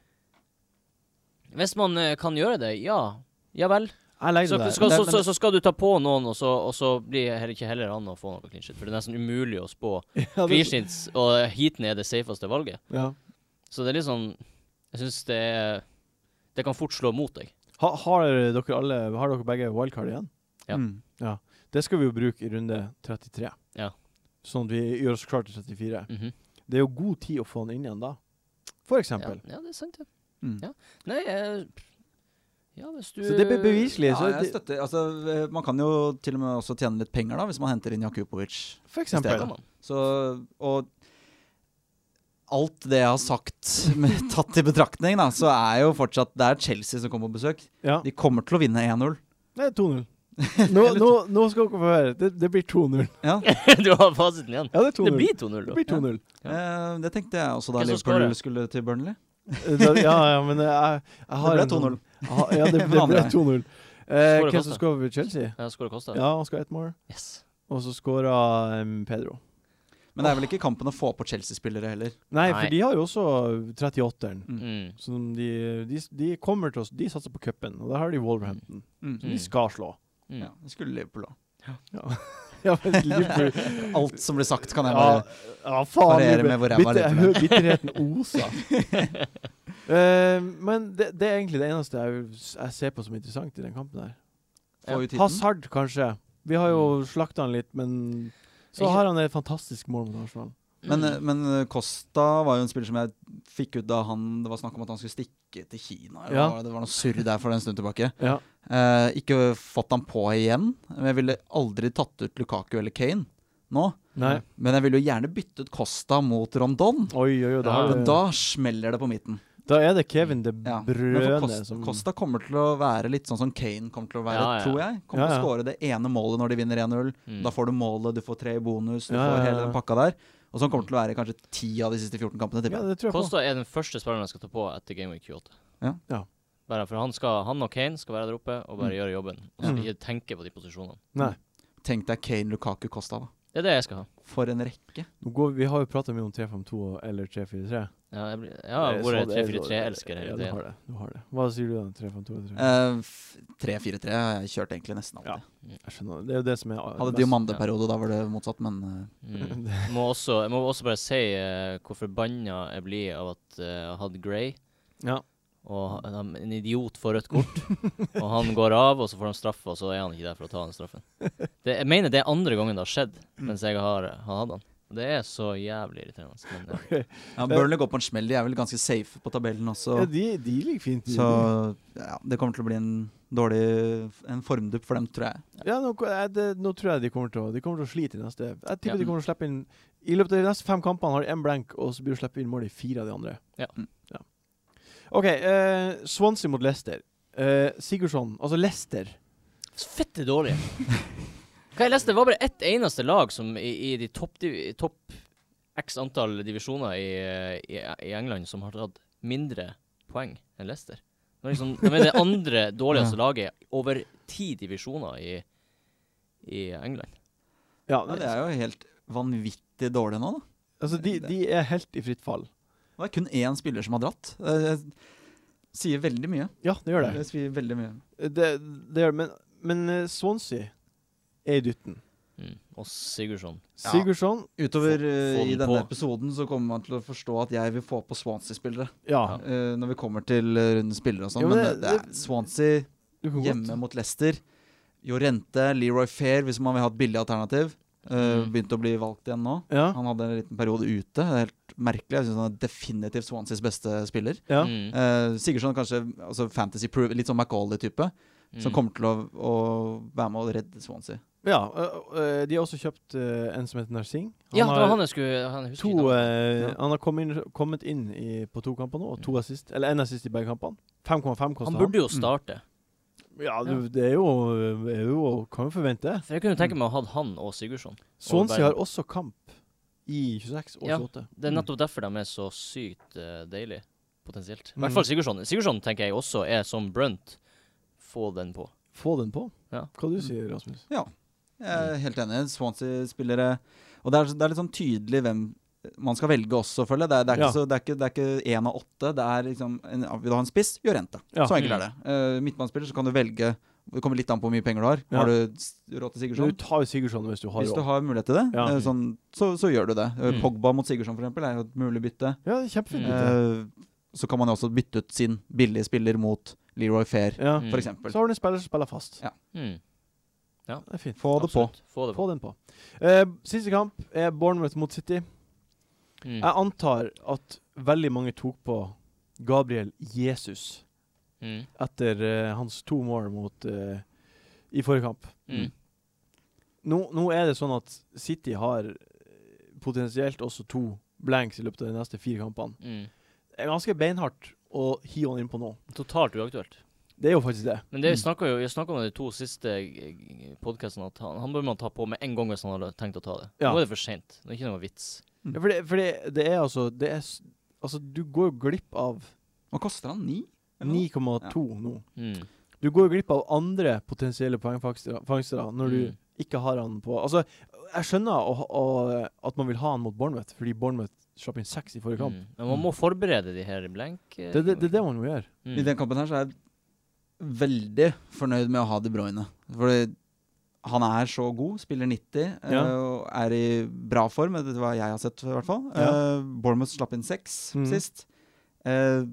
B: Hvis man eh, kan gjøre det, ja. Ja vel.
A: Jeg legger
B: Så,
A: det der.
B: skal,
C: Men-
B: så,
C: men-
B: så, så skal du ta på noen, og så, og så blir det heller ikke heller an å få noe clean shit. For det er nesten umulig å spå
A: Ja, det-
B: clean shits, og heaten er det safeste valget.
A: ja.
B: Så det er litt sånn Jeg syns det er Det kan fort slå mot deg.
A: ha, har dere alle Har dere begge wildcard igjen?
B: Ja.
C: Mm.
A: Det skal vi jo bruke i runde 33.
B: Ja.
A: Sånn at vi gjør oss klar til 34.
B: Mhm.
A: Det er jo god tid å få han inn igjen da. For eksempel.
B: ja, ja, det er sant, det.
C: Mm.
B: Ja. Nei, jeg, ja, hvis du
A: Så det blir beviselig.
C: Ja,
A: så
C: jeg
A: det,
C: støtter. Altså, eh, man kan jo til og med også tjene litt penger da, hvis man henter inn Jakubovic.
A: for
B: Det
A: eksempel.
B: kan man.
C: Så, og alt det jeg har sagt med, tatt i betraktning, da, så er jo fortsatt Det er Chelsea som kommer på besøk.
A: Ja.
C: De kommer til å vinne 1-0.
A: Det er 2-0. Nå, nå, nå skal dere få høre. Det, det blir 2-0.
C: Ja.
B: du har fasiten igjen.
A: Ja, det er 2-0.
B: Det blir 2-0,
A: Det
B: da.
A: blir 2-0.
C: Eh, det tenkte jeg også da
B: Hvem som
C: Liverpool
B: scorer?
C: skulle til Burnley.
A: Eh, Da- Ja, ja, men jeg, jeg har
C: ble
A: en sånn-
C: 2-0.
A: Jeg har- Ja, det, det ble
C: Vanlig.
A: 2-0. Eh,
B: Skårer
A: hvem som
B: Costa.
A: skårer for Chelsea?
B: Ja, Skåra Kosta.
A: Ja, han skal ha ett mål.
B: Yes.
A: Og så skåra um, Pedro.
C: Men det er vel ikke kampen å få på Chelsea-spillere heller.
A: Nei,
B: Nei.
A: for de har jo også 38-eren.
B: Mm.
A: Som de, de, de kommer til oss De satser på cupen, og der har de Wolverhampton.
C: Mm.
A: Som de skal slå.
B: Mm.
C: Ja, det skulle Liverpool òg.
A: Ja, men Liverpool
C: Alt som blir sagt, kan jeg
A: Ja,
C: bare
A: ja, faen.
C: variere
A: Liverpool.
C: med hvor ræva
A: Bitter-
C: Liverpool
A: Bitterheten oser. Eh, men det, det er egentlig det eneste jeg, jeg ser på som interessant i den kampen her.
C: få ut hiten.
A: Hazard, kanskje. Vi har
C: Mm.
A: jo slakta han litt, men så
B: Ikke-
A: har han et fantastisk mål mot Arsenal.
C: Men, eh,
B: Mm.
C: men eh, Costa var jo en spiller som jeg fikk ut da han, det var snakk om at han skulle stikke til Kina. eller
A: Ja.
C: hva var det? Det var noe surr der for en stund tilbake.
A: Ja.
C: Eh, ikke fått han på igjen. Men jeg ville aldri tatt ut Lukaku eller Kane nå.
A: Nei.
C: Men jeg ville jo gjerne byttet Costa mot Rondon.
A: Oi, oi, oi. Da,
B: Ja,
A: er
C: Men
A: det-
C: da smeller det på midten.
A: da er det Kevin De
C: Ja. Men for
A: Brøne
C: Costa,
A: som
C: Costa kommer til å være litt sånn som Kane kommer til å være,
B: Ja, ja.
C: tror jeg. Kommer til
A: Ja,
C: å
A: ja.
C: skåre det ene målet når de vinner 1-0.
B: Mm.
C: Da får du målet, du får tre i bonus, du
A: Ja, ja,
C: får
A: ja.
C: hele den pakka der. Og sånn kommer det til å være kanskje ti av de siste 14 kampene.
A: Ja,
C: tipper jeg.
A: det tror jeg på.
B: Kosta er den første spilleren jeg skal ta på etter Game Week 28.
C: Ja.
A: Ja.
B: Bare for han, skal, han og Kane skal være der oppe og bare
C: Mm.
B: gjøre jobben. Og så
A: Mm.
B: ikke tenke på de posisjonene.
A: Nei.
C: Tenk deg Kane, Lukaku, Costa, da.
B: Det er det jeg skal ha.
C: For en rekke.
A: Nå går, vi vi har jo prata mye om 3-5-2 og- eller 3-4-3.
B: Ja, jeg, blir- jeg har
A: Jeg Eh, så
B: vært
A: det, jeg så
B: 343-elsker
A: det. sånn-
B: hele
A: Ja, du
B: tiden.
A: har det. Du har det. Hva sier du da? 352?
C: Eh, f- 3-4-3 har jeg kjørt egentlig nesten
A: Ja.
C: alltid.
A: Jeg skjønner. Det er jo det som er eh,
C: Hadde
A: best.
C: diamanteperiode, da var det motsatt, men eh,
B: Mm. Jeg Må også, jeg må også bare si eh, hvor forbanna jeg blir av at eh, jeg hadde Grey,
A: Ja.
B: og han- han- en idiot får rødt kort. og han går av, og så får han straffe, og så er han ikke der for å ta den straffen. Det, jeg mener det er andre gangen det har skjedd
A: Mm.
B: mens jeg har, har hatt han. Det er så jævlig irriterende. Men, eh, ja.
C: ja, Burnley går på en smell. De er vel ganske safe på tabellen også.
A: ja de, de ligger fint. i-
C: Så ja, det kommer til å bli en dårlig En formdupp for dem, tror jeg.
A: Ja, nå, eh, det, nå tror jeg de kommer til å De kommer til å slite i neste Jeg tipper
B: Ja.
A: de kommer til å slippe inn I løpet av de neste fem kampene har de én blank, og så blir de sluppet inn mål i fire av de andre.
B: Ja.
C: Mm.
A: Ja. OK, eh, Swansea mot Leicester. Eh, Sigurdsson, altså Leicester
B: Så Fette dårlig. Hva jeg leste, det var bare ett eneste lag som i, i de topp div- topp x antall divisjoner i, i, i England som har tatt mindre poeng enn Leicester. Det er liksom, de er det andre dårligste laget over ti divisjoner i, i England.
A: Ja,
C: Ja, det er jo helt vanvittig dårlig nå, da.
A: altså de, de er helt i fritt fall.
C: Det er kun én spiller som har dratt. Det sier veldig mye.
A: Ja, det gjør det.
C: Det sier veldig mye.
A: det, det gjør, det. men, men eh, Swansea er i dytten.
B: Mm. Og Sigurdsson.
C: Ja.
A: Sigurdsson,
C: Utover
B: Få- få
C: eh, i
B: den
C: denne
B: på.
C: episoden så kommer man til å forstå at jeg vil få på Swansea-spillere.
A: ja.
C: eh, når vi kommer til eh, rundens spillere og sånn.
A: Jo,
C: men
A: men
C: det,
A: det-
C: det er
A: det-
C: Swansea
A: Du kan
C: hjemme
A: godt
C: mot Leicester. Jorente, Leroy Fair, hvis man vil ha et billig alternativ. eh,
B: Mm.
C: Begynte å bli valgt igjen nå.
A: Ja.
C: Han hadde en liten periode ute. Det er helt merkelig. Jeg syns han er definitivt Swanseas beste spiller.
A: ja.
B: Mm.
C: Eh, Sigurdsson kanskje altså fantasy proof, litt sånn McAuley-type, som
B: Mm.
C: kommer til å, å være med og redde Swansea.
A: ja. eh, eh, de har også kjøpt eh, en som heter Narsing.
B: Ja, det var han jeg skulle han, jeg husker
A: to,
B: ikke navnet.
A: eh,
C: Ja.
A: Han har kommet inn, kommet inn i, på to kamper nå, og to assist. Eller én assist i begge kampene. 5,5 koster
B: han
A: han.
B: burde jo starte.
A: Ja, du, det er jo, er jo Kan jo forvente det.
B: For jeg kunne tenke meg å ha han og Sigurdsson.
A: Swansea
B: verden.
A: har også kamp i 26 og
B: Ja.
A: 28.
B: Det er nettopp derfor de er så sykt eh, deilige, potensielt. I
A: Mm.
B: hvert fall Sigurdsson. Sigurdsson tenker jeg også er som Brunt. Få den på.
A: Få den på.
B: Ja. Mm.
A: Hva du sier Rasmus?
C: Jeg er helt enig. Swansea-spillere Og det er, det er litt sånn tydelig hvem man skal velge også, føler jeg. Det er, det er, ikke,
A: Ja.
C: så, det er, ikke, det er ikke én av åtte. Det er liksom en, Vil du ha en spiss, gjør rente.
A: Ja.
C: Så
B: Mm.
C: enkelt er det. Uh, Midtbanespiller, så kan du velge Det kommer litt an på hvor mye penger du har.
A: Ja.
C: Har du s- råd
A: Du
C: til Sigurdsson?
A: tar jo Sigurdsson hvis du har
C: Hvis du
A: råd.
C: har mulighet til det,
A: Ja.
C: eh, sånn, så, så gjør du det. Eh,
B: Mm.
C: Pogba mot Sigurdsson for eksempel, er jo et mulig bytte.
A: Ja, det er kjempefint. bytte.
C: Eh, så kan man jo også bytte ut sin billige spiller mot Leroy Fair,
A: Ja.
B: Mm.
C: for eksempel
A: Så har du en spiller som spiller fast.
C: Ja.
B: Mm.
A: Det er fint.
C: Få det på.
B: Absolutt. Få det på.
A: Få den på. Eh, siste kamp er Bournemouth mot City.
B: Mm.
A: Jeg antar at veldig mange tok på Gabriel Jesus.
B: Mm.
A: etter eh, hans to mål mot eh, i forrige kamp.
B: Mm.
A: Nå, nå er det sånn at City har eh, potensielt også to blanks i løpet av de neste fire kampene.
B: Mm.
A: Det er ganske beinhardt å hive han innpå nå.
B: Totalt uaktuelt.
A: Det er jo faktisk det.
B: Men det vi
C: Mm.
B: snakket jo, vi snakket om det i to siste eh, podcastene, at han, han bør man ta på med en gang hvis han hadde tenkt å ta det.
A: Ja.
B: Nå er det for sent. Det er ikke noe vits.
A: Ja, For det, for det, det er altså det er, s- Altså, du går jo glipp av
C: Hva koster han? Ni? Eller noe?
A: 9,2 nå.
B: Mm.
A: Du går jo glipp av andre potensielle poengfangstere fangstere når du
B: Mm.
A: ikke har han på Altså, jeg skjønner å, å, at man vil ha han mot Bournemouth, fordi Bournemouth slapp inn seks i forrige kamp.
B: Mm. Men man må forberede de her blank. eh,
A: Det er det, det, er det man må gjøre.
B: Mm.
C: I den kampen her så er jeg veldig fornøyd med å ha De Bruyne. Fordi han er så god, spiller 90, eh,
A: Ja.
C: og er i bra form. Det var jeg har sett, i hvert fall.
A: Ja.
C: Eh, Bournemouth slapp inn seks
A: Mhm.
C: sist. Eh,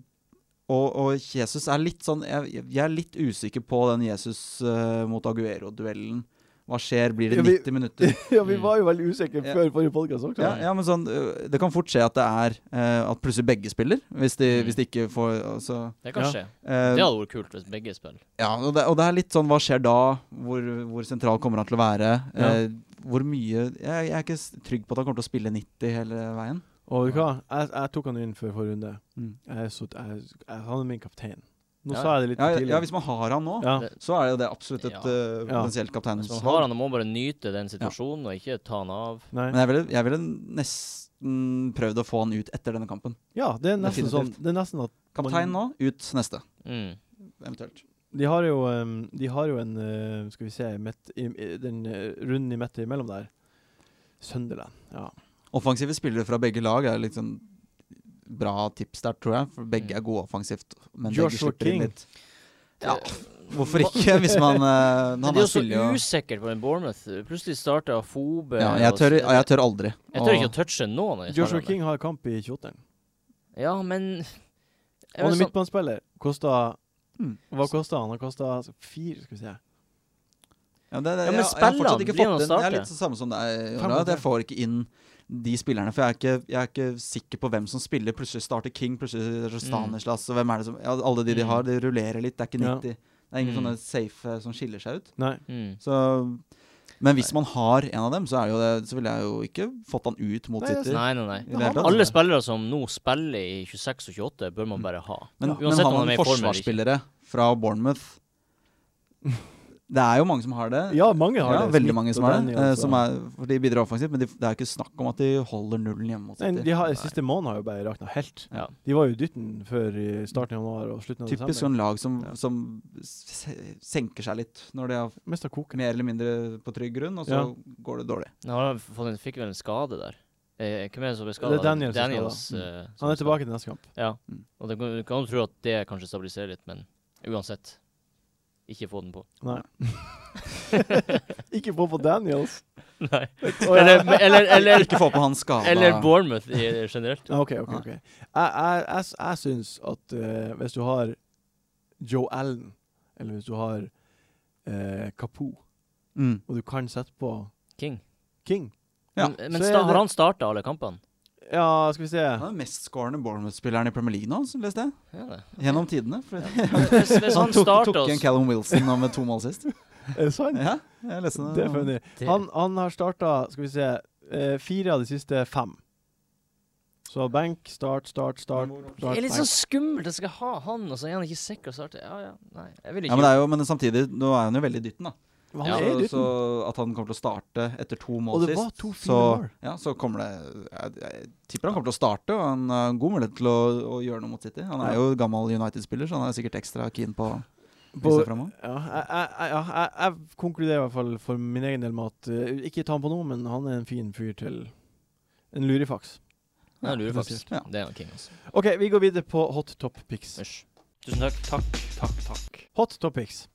C: og, og Jesus er litt sånn jeg, jeg er litt usikker på den Jesus eh, mot Aguero-duellen. Hva skjer? Blir det
A: Ja, vi-
C: 90 minutter?
A: ja,
B: vi var
A: jo veldig usikre
C: Mm. Ja.
A: før forrige podkast også.
C: Ja, ja, men sånn, eh, det kan fort skje at det er eh, at plutselig begge spiller, hvis de,
B: Mhm.
C: hvis de ikke får altså,
B: Det kan
A: Ja.
B: skje.
C: eh,
B: Det hadde vært kult hvis begge spiller.
C: Ja, og det, og det er litt sånn Hva skjer da? Hvor, hvor sentral kommer han til å være?
A: Ja.
C: Eh, hvor mye jeg, jeg er ikke s- trygg på at han kommer til å spille 90 hele veien.
A: Og vet du hva? Jeg, jeg tok han inn før forrige runde.
C: Mm.
A: Jeg, er så, jeg, jeg, han er min kaptein. Nå
B: Ja,
A: sa jeg det litt
C: Ja,
A: for tidlig.
C: ja, hvis man har han nå,
A: Ja.
B: Det-
C: så er det jo det absolutt et
B: Ja.
C: eh,
A: Ja.
C: potensielt
B: Hvis man
C: kapteinsvalg.
B: har han, da må man bare nyte den situasjonen, og ikke ta han av.
A: Nei.
C: Men jeg ville, jeg ville nesten prøvd å få han ut etter denne kampen.
A: ja, det er nesten sånn.
C: Definitivt.
A: Det er nesten at
C: Kaptein nå, ut neste,
B: Mm.
C: eventuelt.
A: de har jo, em, de har jo en eh, Skal vi se midt, i, i, Den eh, runden i midten imellom der. Sunderland. Ja.
C: Offensive spillere fra begge lag er liksom bra tips der, tror jeg. For
B: Mm.
C: begge er gode offensivt. Men begge
A: Joshua
C: slipper inn
A: King.
C: litt. Ja, hvorfor ikke, hvis man eh,
B: Men
C: Han er
B: det er jo så
C: spiller jo
B: usikkert på en Bournemouth. Plutselig starta Fobe
C: ja, jeg,
B: og-
C: tør, ja, jeg tør aldri.
B: Jeg tør
C: å-
B: ikke å touche noen. av de
A: Joshua
B: spillerne.
A: King har kamp i 28.
B: Ja, men Jeg
A: Han er
B: vet sånn-
A: midtbanespiller. Kosta
C: Mm.
A: Hva kosta han? Han kosta fire, skal vi se.
C: Ja, det, det,
B: Ja, men
C: jeg- jeg har
B: spiller
C: fortsatt
B: han?
C: ikke
B: Blir
C: fått inn- Jeg
B: han å
C: er
B: starte?
C: litt så samme som deg,
A: Fem
C: Jonah, at jeg
A: mot
C: får ikke inn de spillerne. For jeg er, ikke, jeg er ikke sikker på hvem som spiller. Plutselig starter King, plutselig
B: Mm.
C: Stanislas og hvem er det som ja, Alle de de
B: Mm.
C: har, de rullerer litt. Det er ikke
A: Ja.
C: 90. Det er ingen
B: Mm.
C: sånne safe eh, som skiller seg ut.
A: Nei.
B: mm.
C: Så men hvis man har en av dem, så, er det jo det, så ville jeg jo ikke fått han ut mot
A: Nei, det er
C: City.
B: Nei, nei, nei.
C: I det hele tatt.
B: Alle spillere som nå spiller i 26 og 28, bør man bare ha.
C: Men,
B: Ja.
C: men
B: Uansett
C: har
B: om han
C: man
B: er i form eller ikke.
C: forsvarsspillere fra Bournemouth Det er jo mange som har det.
A: Ja, mange har
C: Ja,
A: det.
C: veldig mange som har det.
A: Smith og
C: eh,
A: Daniels
C: Som
A: og-
C: er, for de bidrar offensivt, men de, det er ikke snakk om at de holder nullen hjemme mot City.
A: Nei, de har, siste måneden har jo bare rakna helt.
B: Ja.
A: De var jo i dytten før i starten av januar og slutten av
C: Typisk
A: desember.
C: sånn lag som,
A: Ja.
C: som se- senker seg litt når de har
A: Mista koken.
C: mer eller mindre på trygg grunn, og så
A: Ja.
C: går det dårlig.
B: Men Han har fått en, fikk vel en skade der. Eh, hvem er det som ble skada?
A: Det er Daniels som
B: Daniels
C: er
B: eh,
A: Han
B: som ble
A: er tilbake til neste kamp.
B: skadet. Ja.
C: Mm.
B: Og det kan- du kan jo tro at det kanskje stabiliserer litt, men uansett. Ikke få den på.
A: Nei. Ikke på på Daniels.
B: Nei.
A: Å, ja.
B: Eller, eller, eller,
C: Ikke få på han skada.
B: eller Bournemouth i, generelt.
A: Ja, OK, OK. ok Jeg, jeg, jeg, jeg syns at eh, hvis du har Joe Allen, eller hvis du har eh, Kapo,
C: mm.
A: og du kan sette på
B: King.
A: King
C: Ja,
B: men men
A: så er
B: sta,
A: det-
B: har han starta alle kampene?
A: Ja, skal vi se.
C: Han er den mestskårende Bournemouth-spilleren i Premier League nå, som leste jeg.
B: Ja, det.
C: Gjennom tidene. For
B: Hvis, hvis han
C: han
A: sånn
C: tok,
B: starter
C: tok igjen
B: oss
C: Callum Wilson nå med to mål sist.
A: Er det sant?
C: Ja, jeg leste det.
A: Det er funny.
B: Det-
A: Han, han har starta, skal vi se, eh, fire av de siste fem. Så benk, start, start, start.
B: Det
A: start
B: er litt
A: benk.
B: sånn skummelt. Jeg skal ha han, og så er han ikke sikker å starte. Ja, ja, nei, jeg vil
C: Ja,
B: ikke
C: men, det er jo, men samtidig, nå er han jo veldig i dytten, da.
A: Men han
B: Ja,
A: er i
C: så,
A: dytten.
C: så at han kommer til å starte etter to mål
A: Og det
C: sist
A: var to fine
C: så,
A: mål.
C: ja, så kommer det jeg, jeg tipper han kommer til å starte, og han har en god mulighet til å, å gjøre noe mot City. Han er
A: Ja.
C: jo gammel United-spiller, så han er sikkert ekstra keen på å
A: På-
C: vise seg fremover.
A: Ja, jeg, jeg, jeg, ja, jeg, jeg konkluderer i hvert fall for min egen del med at eh, Ikke ta han på nå, men han er en fin fyr til en lurifaks.
B: Nei, jeg lurer faktisk.
C: Ja.
B: Det er han King, altså.
A: OK, vi går videre på hot top picks.
B: Hysj. Tusen takk. Takk, takk, takk.
A: Hot top picks.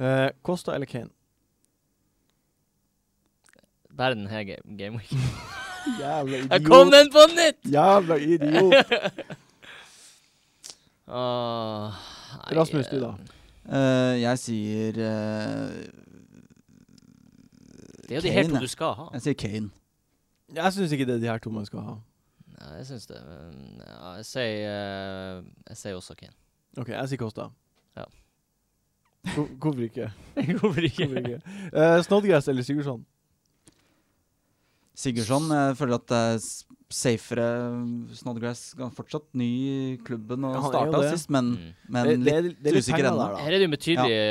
A: Eh, Costa eller Kane?
B: Bare den her ga- gameweeken.
A: Jævla
B: Jeg kom den på nytt!
A: Jævla idiot!
B: Åh, nei,
A: Rasmus, du, da?
C: Eh, jeg sier eh,
B: Det er jo de her
C: Kane,
B: to du skal ha.
C: Jeg sier Kane.
A: Jeg syns ikke det er de her to man skal ha.
B: Ja, jeg syns det. men, Ja, jeg sier eh, Jeg sier også Kane.
A: OK, jeg sier Costa.
B: Ja.
A: Hvor- Hvorfor ikke?
B: Hvorfor ikke?
A: Hvorfor ikke? Eh, Snodgrass eller Sigurdsson?
C: Sigurdsson. Jeg føler at det er s- safere eh, Snodgrass. Han er Fortsatt ny i klubben og
A: Ja, han er jo
C: starta
A: det.
C: sist, men,
B: Mm.
C: men litt
A: er- det er litt
C: usikker
A: penger
C: ennå.
A: der, da.
B: Her er det jo en betydelig
A: det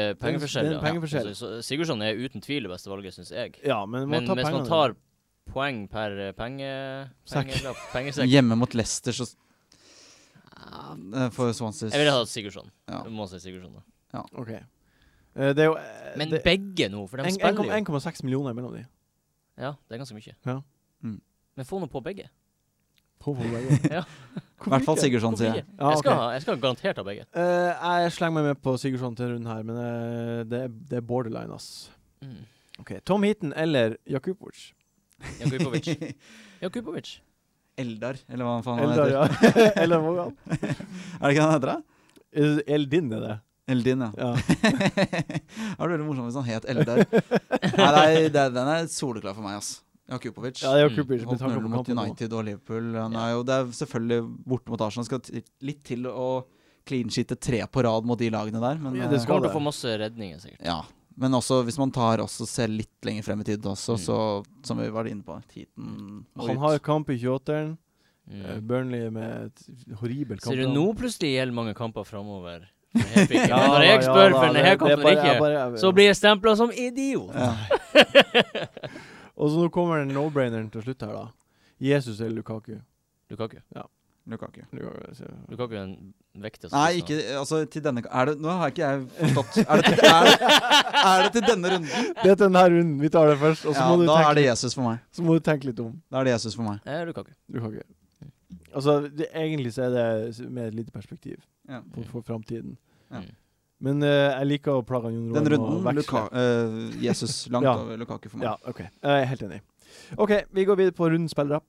A: er
B: pengeforskjell.
A: en
B: ja. Altså,
A: pengeforskjell.
B: Så, så Sigurdsson er uten tvil det beste valget, syns jeg.
A: Ja, men man
B: Men
A: tar
B: hvis
A: pengene.
B: man tar poeng per eh, penge...
A: Sekk.
B: Pengesekk. pengesekk
C: hjemme mot Leicester, så eh, For Swansea
B: jeg ville hatt Sigurdsson.
C: ja.
B: Jeg Må si Sigurdsson da.
A: OK. Eh, det er jo eh,
B: Men
A: det-
B: begge nå, for de
A: en-
B: spiller jo.
A: 1,6 millioner mellom de.
B: Ja, det er ganske mye.
A: Ja.
C: Mm.
B: Men få nå på begge.
A: På Volkswagen.
B: Ja.
A: Hvorfor
C: I hvert fall
A: ikke?
C: Sigurdsson,
B: Hvorfor
C: sier jeg.
B: ikke?
A: Sånn Ja,
B: Jeg skal,
A: ok.
B: ha- jeg skal garantert ha begge.
A: Eh, jeg slenger meg med på Sigurdsson til runden her, men eh, det, er- det er borderline, ass.
B: Mm.
A: OK. Tom Heaton eller Jakubovic?
B: Jakubovic. Jakubovic.
C: Eldar, eller hva faen han
A: Eldar,
C: heter.
A: ja. Eller Vågan.
C: Er det ikke han heter, da?
A: Er- Eldin er det.
C: Eldin, ja.
A: Ja.
C: det hadde vært morsomt hvis han het Eldar. Nei, nei, det, den er soleklar for meg, ass. Jakubovic.
A: ja, det er Jakubovic med
C: Holdt
A: tanke
C: null
A: på
C: mot
A: kampen nå.
C: United og Liverpool. Han
B: Ja.
C: er jo, det er selvfølgelig borte mot Arsenal. Skal t- litt til å clean-shitte tre på rad mot de lagene der. Men,
A: Ja, det
C: eh,
A: skal-
B: Kommer til å få masse redninger, sikkert.
C: ja. men også hvis man tar også ser litt lenger frem i tid også,
B: Mm.
C: så som vi var inne på Heaton må
A: Han
C: ut.
A: har kamp i 28-eren. Eh,
B: Mm.
A: Burnley med et horribel kamp.
B: Ser du, nå plutselig gjelder mange kamper framover.
A: Ja,
B: Når
A: ja,
B: jeg spør
A: da, det-
B: for denne
A: det er
B: kampen
A: bare- jeg
B: ikke,
A: bare-
B: så blir jeg stempla som idiot.
C: ja.
A: Og så nå kommer den no-braineren til slutt her, da. Jesus eller Lukaku?
B: Lukaku.
C: Lukaku.
A: Lukaku.
B: Lukaku er den viktigste.
C: Nei, ikke Altså, til denne er det, Nå har ikke jeg forstått. Er det til, er, er det til denne runden?
A: Det er til denne runden. Vi tar det først, og så,
C: Ja,
A: må, du
C: da er
A: tenke,
C: det Jesus for meg.
A: så må du tenke litt om
C: Da er det Jesus for meg.
B: Eh, Lukaku.
A: Lukaku. Altså, det, egentlig så er det s- med et lite perspektiv
C: Ja.
A: for, for framtiden.
C: Ja.
B: Mm.
A: Men eh, jeg liker å plage Jon Roar
C: Den
A: med å
C: runden
A: veksle.
C: Luka, eh, Jesus langt
A: Ja.
C: over Lukaku for meg.
A: Ja, OK. Jeg er helt enig. OK, vi går videre på rundens spillere.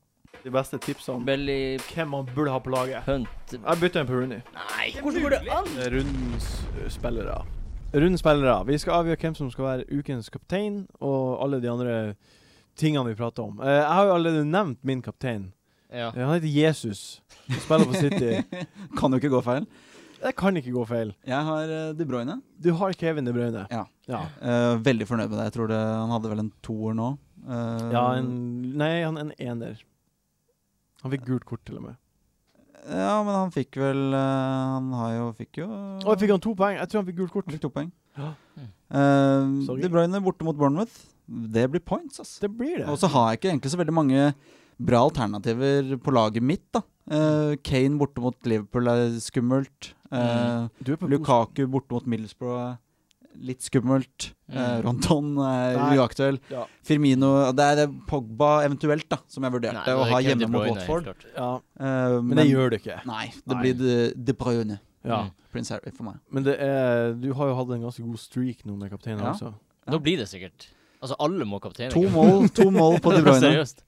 A: De beste tipsene om
B: Belly
A: hvem man burde ha på laget.
B: Hunt
A: Jeg bytter en på Rooney.
B: Nei, hvordan går det an?
A: Rundens eh, spillere. Rundens spillere. Vi skal avgjøre hvem som skal være ukens kaptein, og alle de andre tingene vi prater om. Eh, Jeg har jo allerede nevnt min kaptein.
B: Ja.
A: Eh, Han heter Jesus. Han Spiller på City.
C: Kan jo ikke gå feil.
A: Det kan ikke gå feil.
C: Jeg har eh, De Bruyne.
A: Du har Kevin De Bruyne.
C: Ja.
A: Ja,
C: Eh, veldig fornøyd med det. Jeg tror det, Han hadde vel en toer nå. Eh,
A: ja en Nei, han er en ener. Han fikk gult kort, til og med.
C: ja, men han fikk vel eh, Han har jo fikk jo
A: Å, jeg fikk han to poeng? Jeg tror han fikk gult kort.
C: Han fikk to poeng.
A: Ja.
C: Eh,
A: Sorry.
C: De Bruyne borte mot Bournemouth. Det blir points, ass.
A: Det blir det.
C: Og så har jeg ikke egentlig så veldig mange bra alternativer på laget mitt, da. Eh, Kane borte mot Liverpool er skummelt. Eh,
A: du er på
C: Lukaku borte mot Middlesbrough er litt skummelt. Eh,
B: Mm.
C: Rondon er
A: Nei.
C: uaktuell.
A: Ja.
C: Firmino Det er det Pogba eventuelt, da, som jeg vurderte
B: Nei,
C: å
B: det er
C: ha
B: Kevin
C: hjemme
B: De
C: mot
B: Bruyne, helt
C: Watford.
B: klart.
A: Ja,
C: Eh,
A: men det gjør det ikke.
C: Nei, det
A: Nei.
C: blir De, de Bruyne.
A: Ja.
B: Mm.
C: Prince Harry for meg.
A: Men det er, du har jo hatt en ganske god streak nå med kapteinen
C: Ja.
A: også.
B: Nå blir det sikkert Altså, alle må kapteine.
C: To mål, to mål på De Bruyne.
B: Seriøst.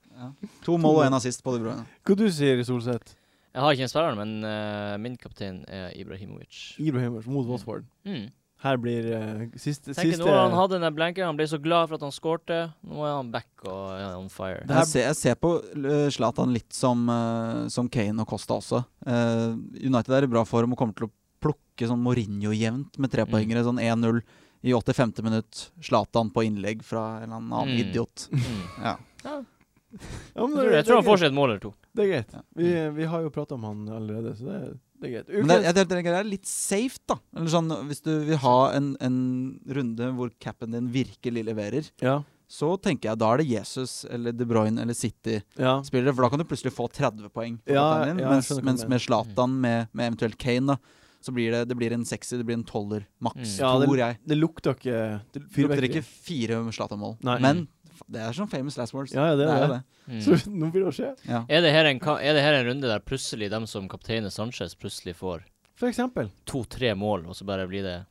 C: To mål og en assist på De Bruyne.
A: Hva du sier Solseth?
B: Jeg har ikke en spiller, men eh, min kaptein er Ibrahimovic.
A: Ibrahimovic mot Watford.
B: Mm.
A: Her blir eh, siste,
B: Tenk
A: siste
B: nå han hadde den der blanken, han ble så glad for at han skårte. Nå er han back og ja, on fire.
A: Det her-
C: Jeg ser, jeg ser på eh, Zlatan litt som, eh, som Kane og Costa også. Eh, United er i bra form og kommer til å plukke sånn Mourinho jevnt med
B: Mm.
C: trepoengere. Sånn 1-0 i 85. minutt. Zlatan på innlegg fra en eller annen
B: Mm.
C: idiot.
B: Mm.
C: Ja.
A: Ja, men
B: Jeg tror,
A: det-
B: jeg tror
A: det er
B: han får seg et mål eller to.
A: greit. Det er greit.
C: Ja.
A: Vi, vi har jo prata om han allerede, så det, det er greit.
C: Men det,
A: Ukens-
C: jeg tenker det er litt safe, da. Eller sånn, hvis du vil ha en, en runde hvor capen din virkelig leverer,
A: ja.
C: så tenker jeg da er det Jesus eller De Bruyne eller City
A: ja.
C: spillere, for da kan du plutselig få 30 poeng. på
A: Ja,
C: kapteinen din,
A: ja, jeg
C: mens,
A: skjønner hva du
C: mens
A: mener.
C: med Zlatan, med, med eventuelt Kane, da, så blir det, det blir en sekser, det blir en toller maks,
B: Mm.
A: Ja,
C: tror jeg.
A: Det lukta ikke Det
C: Det lukter ikke fire Zlatan-mål.
A: Nei.
C: Men f- det er som famous last words.
A: Ja, ja, det
C: det
A: er
C: er
A: det.
C: jo det.
B: Mm.
A: Så nå blir det å skje.
C: Ja.
B: Er, det her en, ka- er det her en runde der plutselig dem som kapteiner Sanchez plutselig får
A: For eksempel.
B: to-tre mål, og så bare blir det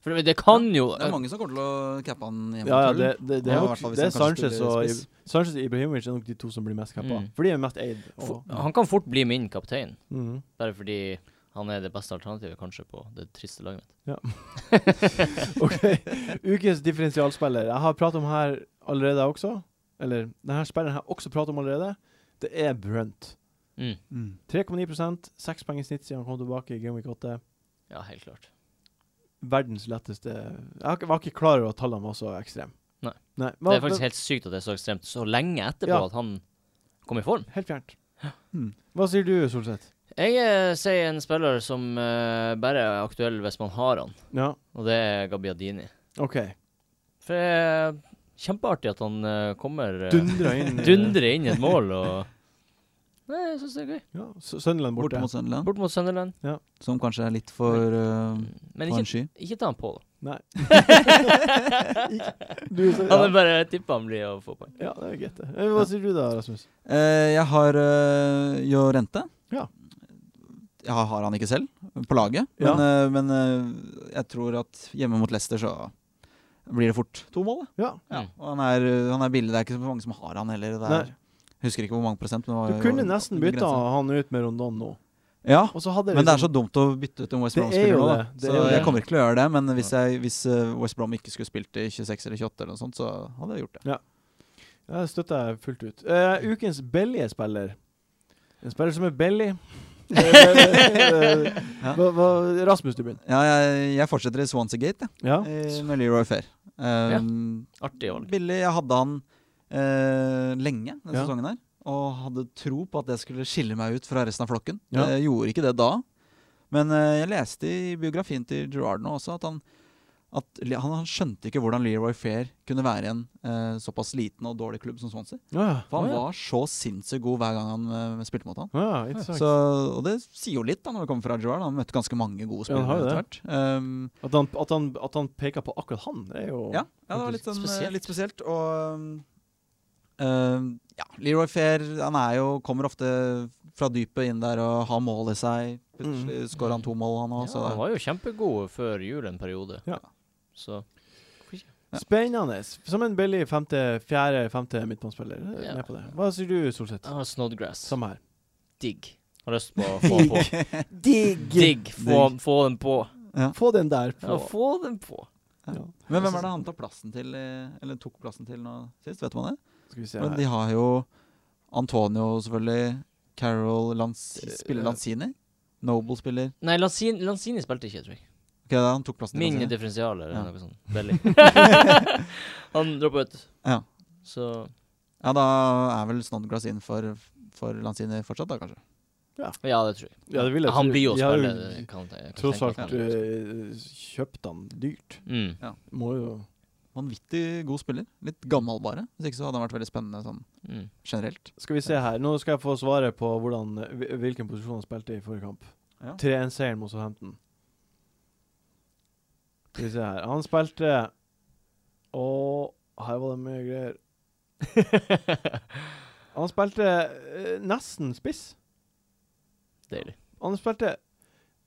B: For det kan jo
C: Det er mange som kommer til å cappe han hjemme.
A: Ja, ja,
C: tror
A: det,
C: jeg.
A: det, det er
C: Ja, i
A: nok
C: hvert fall hvis
A: det er
C: han kanskje
A: Sanchez
C: spiller
A: og,
C: spiss.
A: Ib- Sanchez og Ibrahimovic er nok de to som blir mest cappa.
B: Mm.
A: For de er mest eid. Og,
B: Fo- Han kan fort bli min kaptein,
A: Mhm.
B: bare fordi han er det beste alternativet kanskje på det triste laget mitt.
A: OK. Ukens differensialspiller. Jeg har pratet om her allerede også. Eller denne spilleren har jeg også pratet om allerede. Det er Brunt.
B: Mm.
C: Mm.
A: 3,9 seks poeng i snitt siden han kom tilbake i Game Week 8.
B: Ja, helt klart.
A: Verdens letteste Jeg har ikke- var ikke klar over at tallene var så ekstreme.
B: Nei.
A: Nei.
B: Det er faktisk helt sykt at det er så ekstremt så lenge etterpå
A: Ja.
B: at han kom i form.
A: helt fjernt.
C: Mm.
A: Hva sier du, Solseth?
B: Jeg eh, sier en spiller som eh, bare er aktuell hvis man har han,
A: Ja,
B: og det er Gabbiadini.
A: OK.
B: Eh. For det er kjempeartig at han eh, kommer eh,
A: Dundra inn
B: dundrer inn et mål og Nei, jeg syns det er gøy.
A: Ja, S- Sunderland borte.
C: Borte mot Sunderland,
B: Bort mot Sunderland.
C: som kanskje er litt for uh,
B: Men
C: på en
B: ikke,
C: sky.
B: ikke ta han på, da.
A: Du, så,
B: Han er
A: ja.
B: bare tippa han blir å få poeng.
A: ja, det er greit, det. Eh, Hva sier du da, Rasmus?
C: Eh, jeg har uh, Jorente.
A: Ja.
C: Jeg har, har han ikke selv på laget,
A: Ja.
C: men, eh, men eh, jeg tror at hjemme mot Leicester så blir det fort to mål. da.
A: Ja.
B: Ja.
C: Og han er, eh, han er billig, det er ikke så mange som har han heller. Det
A: Mm. Nei.
C: er, husker ikke hvor mange prosent. Men det
A: Du
C: var,
A: kunne nesten bytta
C: grensa.
A: han ut med Rondon nå.
C: Ja,
A: Og så hadde
C: men det er så dumt å bytte ut en West
A: liksom- Det er jo
C: Brom-spiller nå.
A: det.
C: Da.
A: Det
C: Så
A: er jo
C: jeg
B: det.
C: kommer ikke til å gjøre det, men hvis, jeg, hvis eh, West Brom ikke skulle spilt i 26 eller 28 eller noe sånt, så hadde jeg gjort det.
A: Ja, det støtter jeg fullt ut. Eh, ukens Belly-spiller. En spiller som er Belly. Eh,
C: Ja.
A: hva, hva, Rasmus, du begynner.
C: Ja, jeg, jeg fortsetter i Swansea Gate, jeg,
A: Ja.
C: eh, med Leroy Fair. Um,
B: Artig valg.
C: Billig. Jeg hadde han eh, lenge denne
A: Ja.
C: sesongen her. Og hadde tro på at det skulle skille meg ut fra resten av flokken.
A: Ja.
C: Jeg gjorde ikke det da. Men eh, jeg leste i biografien til Gerard nå også at han at Le- han, han skjønte ikke hvordan Leroy Fair kunne være i en eh, såpass liten og dårlig klubb som Swansea.
A: Å ja.
C: For
A: Å
C: han
A: ja.
C: var så sinnssykt god hver gang han eh, spilte mot han.
A: Å ja, interessant.
C: Så, og det sier jo litt da når vi kommer fra Gerard. Han møtte ganske mange gode
A: Ja, han har
C: spillere
A: jo
C: etter hvert. Um,
A: At han, at, han, at han peker på akkurat han, det er jo
C: Ja, ja det var litt, sånn, eh,
B: Spesielt.
C: litt spesielt. Og um, Eh, ja, Leroy Fair han er jo, kommer ofte fra dypet inn der og har mål i seg. Plutselig skårer han to mål, han òg.
B: Mm. Ja, han var jo kjempegod før jul en periode.
A: Ja.
B: Så
A: Spennende. Som en billig femte, fjerde, femte midtbanespiller. Jeg er
B: Ja.
A: Med på det. Hva sier du, Solseth?
B: jeg har Snodgrass.
A: Samme her.
B: Digg. Har lyst på å få den på.
A: Digg!
B: Digg. Få, få den på.
A: Få den der
B: Ja,
A: på.
B: få den på.
A: Ja.
C: Men hvem er det han tar plassen til, eh, eller tok plassen til nå sist? Vet man det?
A: Skal vi se
C: Men de
A: her.
C: har jo Antonio, selvfølgelig. Carol Lans
B: Eh,
C: spiller Lanzini. Noble spiller.
B: Nei, Lanzini, Lanzini spilte ikke, tror jeg.
C: Ok, da, han tok plassen til
B: Min
C: Lanzini.
B: differensial eller
C: Ja.
B: noe sånt. Belly. han droppa ut.
C: Ja.
B: Så
C: Ja, da er vel Snodgrass inn for, for Lanzini fortsatt, da kanskje.
B: Ja, det tror jeg.
A: Ja, det vil jeg
B: han
A: tro.
B: blir jo
A: De har
B: spiller.
A: jo
B: jeg kan te- jeg kan
A: Tross
B: tenke
A: alt
B: at han
A: eh,
B: blir.
A: kjøpt han dyrt.
B: Mm.
A: Må jo
C: Vanvittig god spiller. Litt gammel, bare. Hvis ikke så hadde han vært veldig spennende sånn
B: Mm.
C: generelt.
A: Skal vi se her. Nå skal jeg få svaret på hvordan, hvil- hvilken posisjon han spilte i forrige kamp.
C: Ja.
A: 3-1-seieren mot Southampton. Skal vi se her. Han spilte Og her var det mye greier. Han spilte eh, nesten spiss.
B: Deilig.
A: Han spilte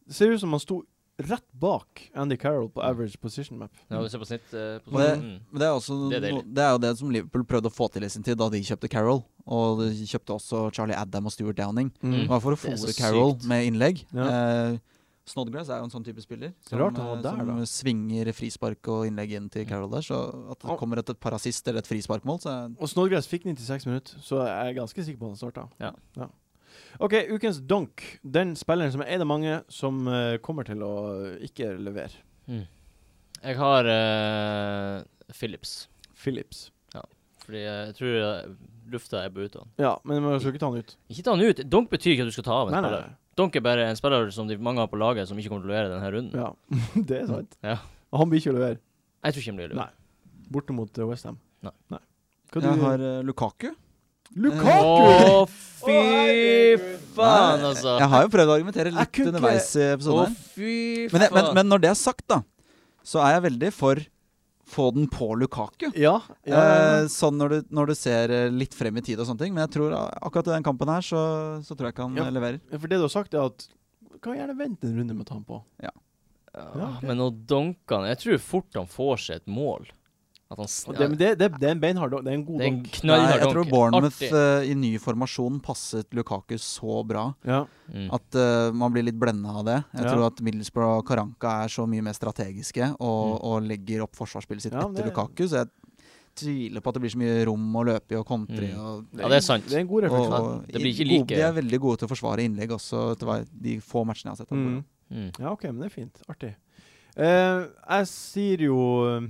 A: Det ser ut som han sto rett bak Andy Carroll på average position map.
B: Ja, du ser på snitt eh, på
C: Og det-
B: sånn. mm.
C: Men det er, også
B: Det er
C: no,
B: deilig.
C: det er jo det som Liverpool prøvde å få til i sin tid, da de kjøpte Carol. Og de kjøpte også Charlie Adam og Stuart Downing.
B: Mm.
C: Det var for å
B: Det er så
C: fôre Carol
B: sykt.
C: med innlegg.
A: Ja.
C: Eh, Snodgrass er jo en sånn type spiller. Som,
A: Rart han var
C: eh,
A: der,
C: som
A: da.
C: svinger frispark og innlegg inn til Carol der. Så at det
A: Han-
C: kommer et, et par assist eller et frisparkmål, så er
A: Og Snodgrass fikk 96 minutter, så jeg er ganske sikker på at han starta.
B: Ja.
A: OK, ukens donk. Den spilleren som er eid av mange, som eh, kommer til å eh, ikke levere.
B: Jeg har eh, Philips.
A: Phillips.
B: Fordi eh, jeg tror eh, lufta er på ute av han.
A: Ja, men vi skal ikke ta han ut.
B: Ikke ta han ut. Donk betyr ikke at du skal ta av en
A: Nei, nei,
B: spiller.
A: nei.
B: Donk er bare en spiller som de mange har på laget, som ikke kommer til å levere denne runden.
A: Ja, det er sant.
B: Mm. Ja.
A: Og han blir ikke å levere.
B: Jeg tror ikke han blir levert.
A: Nei. Borte mot eh, Westham.
B: Nei.
A: nei. Hva
C: det
A: du
C: Jeg har eh, Lukaku.
A: Lukaku!
B: Å,
A: Å,
B: fy
A: herregud. sånn
B: faen,
C: Nei,
B: altså.
C: Jeg har jo prøvd å argumentere
A: Jeg
C: litt
A: kunne ikke-
C: underveis i
B: Å,
C: episoden. her.
B: fy faen.
C: Men, jeg-
A: Altså-
C: men, men når det er sagt, da, så er jeg veldig for få den på Lukaku.
A: Ja. ja,
C: Eh, sånn når du, når du ser eh, litt frem i tid og sånne ting. Men jeg tror eh, akkurat i den kampen her, så, så tror jeg ikke han
A: Ja.
C: eh, leverer.
A: ja. For det du har sagt, er at kan gjerne vente en runde med å ta han på.
B: Ja, men nå donker han Jeg tror fort han får seg et mål. At han sn-
A: Og det, men det, det, det er en beinhard donk. Det er en god
B: Det er en
A: donk.
C: Nei,
B: knallhard
C: jeg tror Bournemouth
B: Artig.
C: eh, i ny formasjon passet Lukaku så bra
A: Ja.
B: Mm.
C: at eh, man blir litt blenda av det. Jeg
A: Ja.
C: tror at Middlesbrough og Karanka er så mye mer strategiske og,
A: Mm.
C: og legger opp forsvarsspillet sitt
A: Ja, men
C: etter
A: det-
C: Lukaku, så jeg tviler på at det blir så mye rom å løpe i og kontre i.
B: Mm.
C: og
B: Ja, det er sant.
A: Det er en god refleksjon.
C: Og,
B: Det blir ikke
C: i-
B: like-
C: gode- De er veldig gode til å forsvare innlegg også, etter hva- de få matchene jeg har sett. av
A: Mm.
C: Bournemouth.
B: Mm.
A: Ja, OK, men det er fint. Artig. Eh, jeg sier jo eh,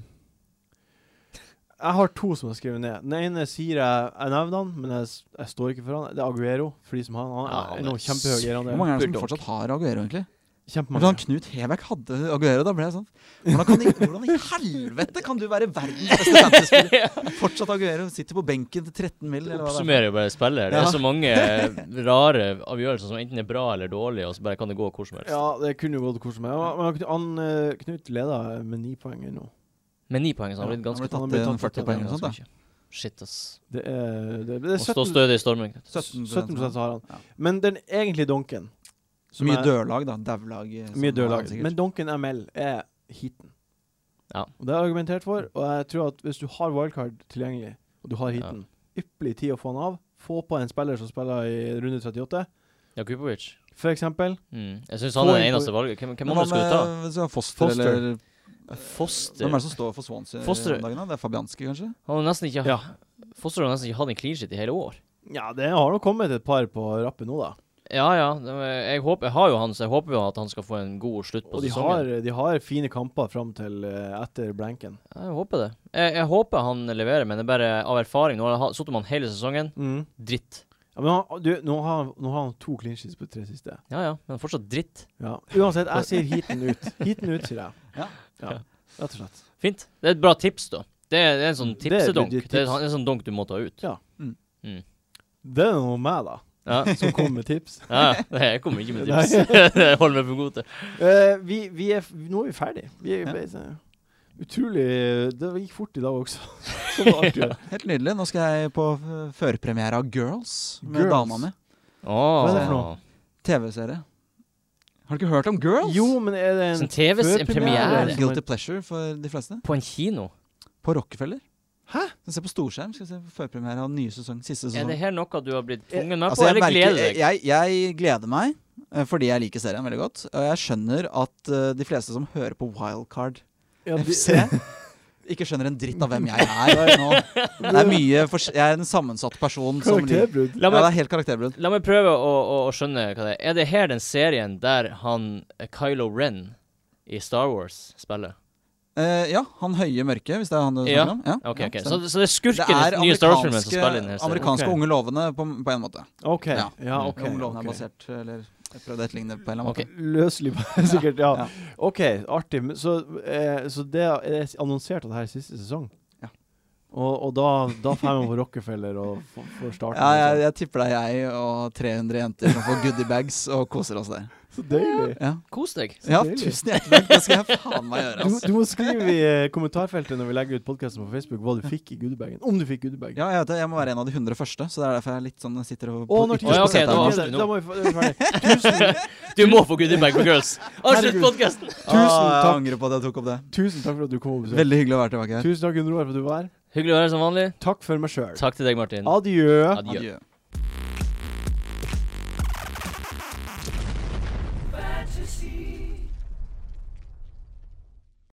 A: Jeg har to som jeg har skrevet ned. Den ene sier jeg Jeg nevner han, men jeg, s- jeg står ikke for han. Det er Aguero, for de som har han. Han
B: Ja,
A: er,
B: han er
A: noe kjempehøy i han.
C: Hvor mange er det som
B: Bulldog.
C: fortsatt har Aguero, egentlig?
A: Kjempemange.
C: Hvordan Knut Hebekk hadde Aguero, da ble jeg sånn Hvordan, kan, i- hvordan i helvete kan du være verdens beste fantasy-spiller? Fortsatt Aguero, sitter på benken til 13 mil, eller hva det er.
B: Oppsummerer jo bare spillet. her. Det
C: Ja.
B: er så mange eh, rare avgjørelser som enten er bra eller dårlige, og så bare kan det gå hvor som helst.
A: Ja, det kunne jo gått hvor som helst. Men han- han, eh, Knut leder med ni poeng ennå.
B: Med ni poeng så har
A: Ja,
B: han blitt ganske
C: Han ble
A: han ble tatt
C: tatt til 40
A: ut,
C: poeng eller
B: ganske
C: noe sånt, da.
B: mye. Shit, ass.
A: Det er, det, det
B: Å
A: er
B: stå
A: 17,
B: stødig i stormen.
A: 17
C: 17%
A: så har han.
C: Ja.
A: Men den egentlige donken som
C: Mye
A: er-
C: dørlag, da. Daulag. eh, som
A: Mye dørlag.
C: er sikkert.
A: Men Duncan ML er heaten.
B: Ja.
A: Og det har jeg argumentert for, og jeg tror at hvis du har wildcard tilgjengelig, og du har heaten, ypperlig tid å få han av. Få på en spiller som spiller i runde 38,
B: Jakubovic.
A: for eksempel.
B: Mm. Jeg syns han er
A: Få
B: det
A: inn på-
B: eneste valget. Hvem, hvem
C: Men eh,
B: andre skulle du ta?
C: med- hvis du har Foster,
A: Foster.
C: eller
B: Foster.
C: Hvem er det som står for Swansea
B: Foster.
C: om dagen? da? Det er Fabianski, kanskje?
B: Han har nesten ikke
A: Ja.
B: Foster har nesten ikke hatt en clean sheet i hele år.
A: Ja, det har nå kommet et par på rappet nå, da.
B: Ja, ja. det- Jeg, håper, jeg har jo han, så jeg håper jo at han skal få en god slutt på
A: Og de
B: sesongen.
A: har, de har fine kamper fram til eh, etter blanken.
B: Ja, Jeg håper det. Jeg, jeg håper han leverer, men det er bare av erfaring. Nå har jeg sittet med han hele sesongen. Dritt.
A: Mm. Ja, men han, du, nå, har, han- nå har han to clean sheets på tre siste.
B: Ja, ja, men fortsatt dritt.
A: Ja. Uansett, jeg sier heaten ut. Heaten ut, sier jeg.
C: Ja.
A: ja. Rett og slett.
B: Fint. Det er et bra tips, da. Det er, det er en sånn
A: Det er
B: tipsedonk. Det er,
A: legit
B: en-
A: tips.
B: en sånn donk du må ta ut.
A: Det er nå meg, da,
B: Ja,
A: som kommer med tips.
B: ja det jeg kommer ikke med tips. det holder meg for god til.
A: Eh, vi, vi er, f- nå er vi ferdig. Vi er,
C: Ja.
A: vi er- Utrolig Det gikk fort i dag også. Som det alltid gjør.
C: Helt nydelig. Nå skal jeg på eh, førpremiere av Girls med
A: Girls.
C: dama mi.
A: Hva er det for noe?
C: TV-serie. Har du ikke hørt om Girls?
A: Jo, men er det en
B: Sånn TVs en
A: Førpremiere.
B: premiere
C: Guilty pleasure for de fleste.
B: på en kino?
C: På Rockefeller.
A: Hæ?
C: Skal se på storskjerm. Skal se førpremiere av nye sesong. Siste
B: Er
C: sesong.
B: det her noe du har blitt tvunget med
C: Altså,
B: på,
C: jeg,
B: eller
C: merker,
B: gleder deg?
C: jeg, jeg gleder meg eh, fordi jeg liker serien veldig godt. Og jeg skjønner at eh, de fleste som hører på Wildcard
A: ja, de-
C: FC, ikke skjønner en dritt av hvem jeg er nå. Det er mye fors- Jeg er en sammensatt person som liker
A: Karakterbrudd.
C: Ja,
B: La
C: det
B: meg,
C: er helt karakterbrudd.
B: la meg prøve å, å, å skjønne hva det er. Er det her den serien der han eh, Kylo Ren i Star Wars spiller?
C: Eh, ja, han høye mørke, hvis det er han du snakker
B: Ja.
C: om. Ja,
B: OK,
C: ja,
B: ok. Så,
C: stemmer.
B: så det er
C: det
B: skurken i
C: er
B: den nye Star Wars-filmen som
C: amerikanske,
B: spiller i denne serien?
C: amerikanske
A: Ok.
C: unge lovene på, på en måte.
A: OK.
C: Ja.
A: Ja, ok.
C: Unge lovene
A: ok.
C: er basert Eller jeg prøvde å etterligne det på en eller annen
B: Ok.
A: Løselig, sikkert. Ja.
C: Ja.
A: OK, artig. Men Så, eh, så det er det annonsert at det her er siste sesong?
C: Ja.
A: Og, og da, da får man på Rockefeller og f- får
C: måte.
A: starten?
C: Ja, jeg, jeg tipper det er jeg og 300 jenter som får goodiebags og koser oss der.
A: Så deilig.
C: Ja,
B: Kos deg.
C: ja
A: deilig.
C: tusen hjertelig takk. Det skal jeg faen meg gjøre.
A: Du,
C: Altså.
A: du må skrive i eh, kommentarfeltet når vi legger ut podkasten på Facebook, hva du fikk i goodiebagen. Om du fikk goodiebag.
C: Ja, jeg, vet, det, jeg må være en av de 100 første, så det er derfor jeg litt sånn sitter og
A: Å, når tid
C: ytterst
B: Å, ja,
C: på
B: ok,
C: setet
B: da
C: her nå.
B: avslutter vi nå.
A: Da må vi få- da er vi ferdig. Tusen,
B: Du må få goodiebag på Girls. Avslutt
A: Herregud.
B: podkasten.
A: tusen
C: Ah, Jeg
A: takk.
C: angrer på at jeg tok opp det.
A: Tusen takk for at du kom og besøkte.
C: Veldig hyggelig å være tilbake her.
A: Tusen takk, Gunn Roar, for at du var her.
B: Hyggelig å være som vanlig.
A: Takk for meg sjøl.
B: Takk til deg, Martin.
A: Adjø.
B: Adjø.
C: Adjø.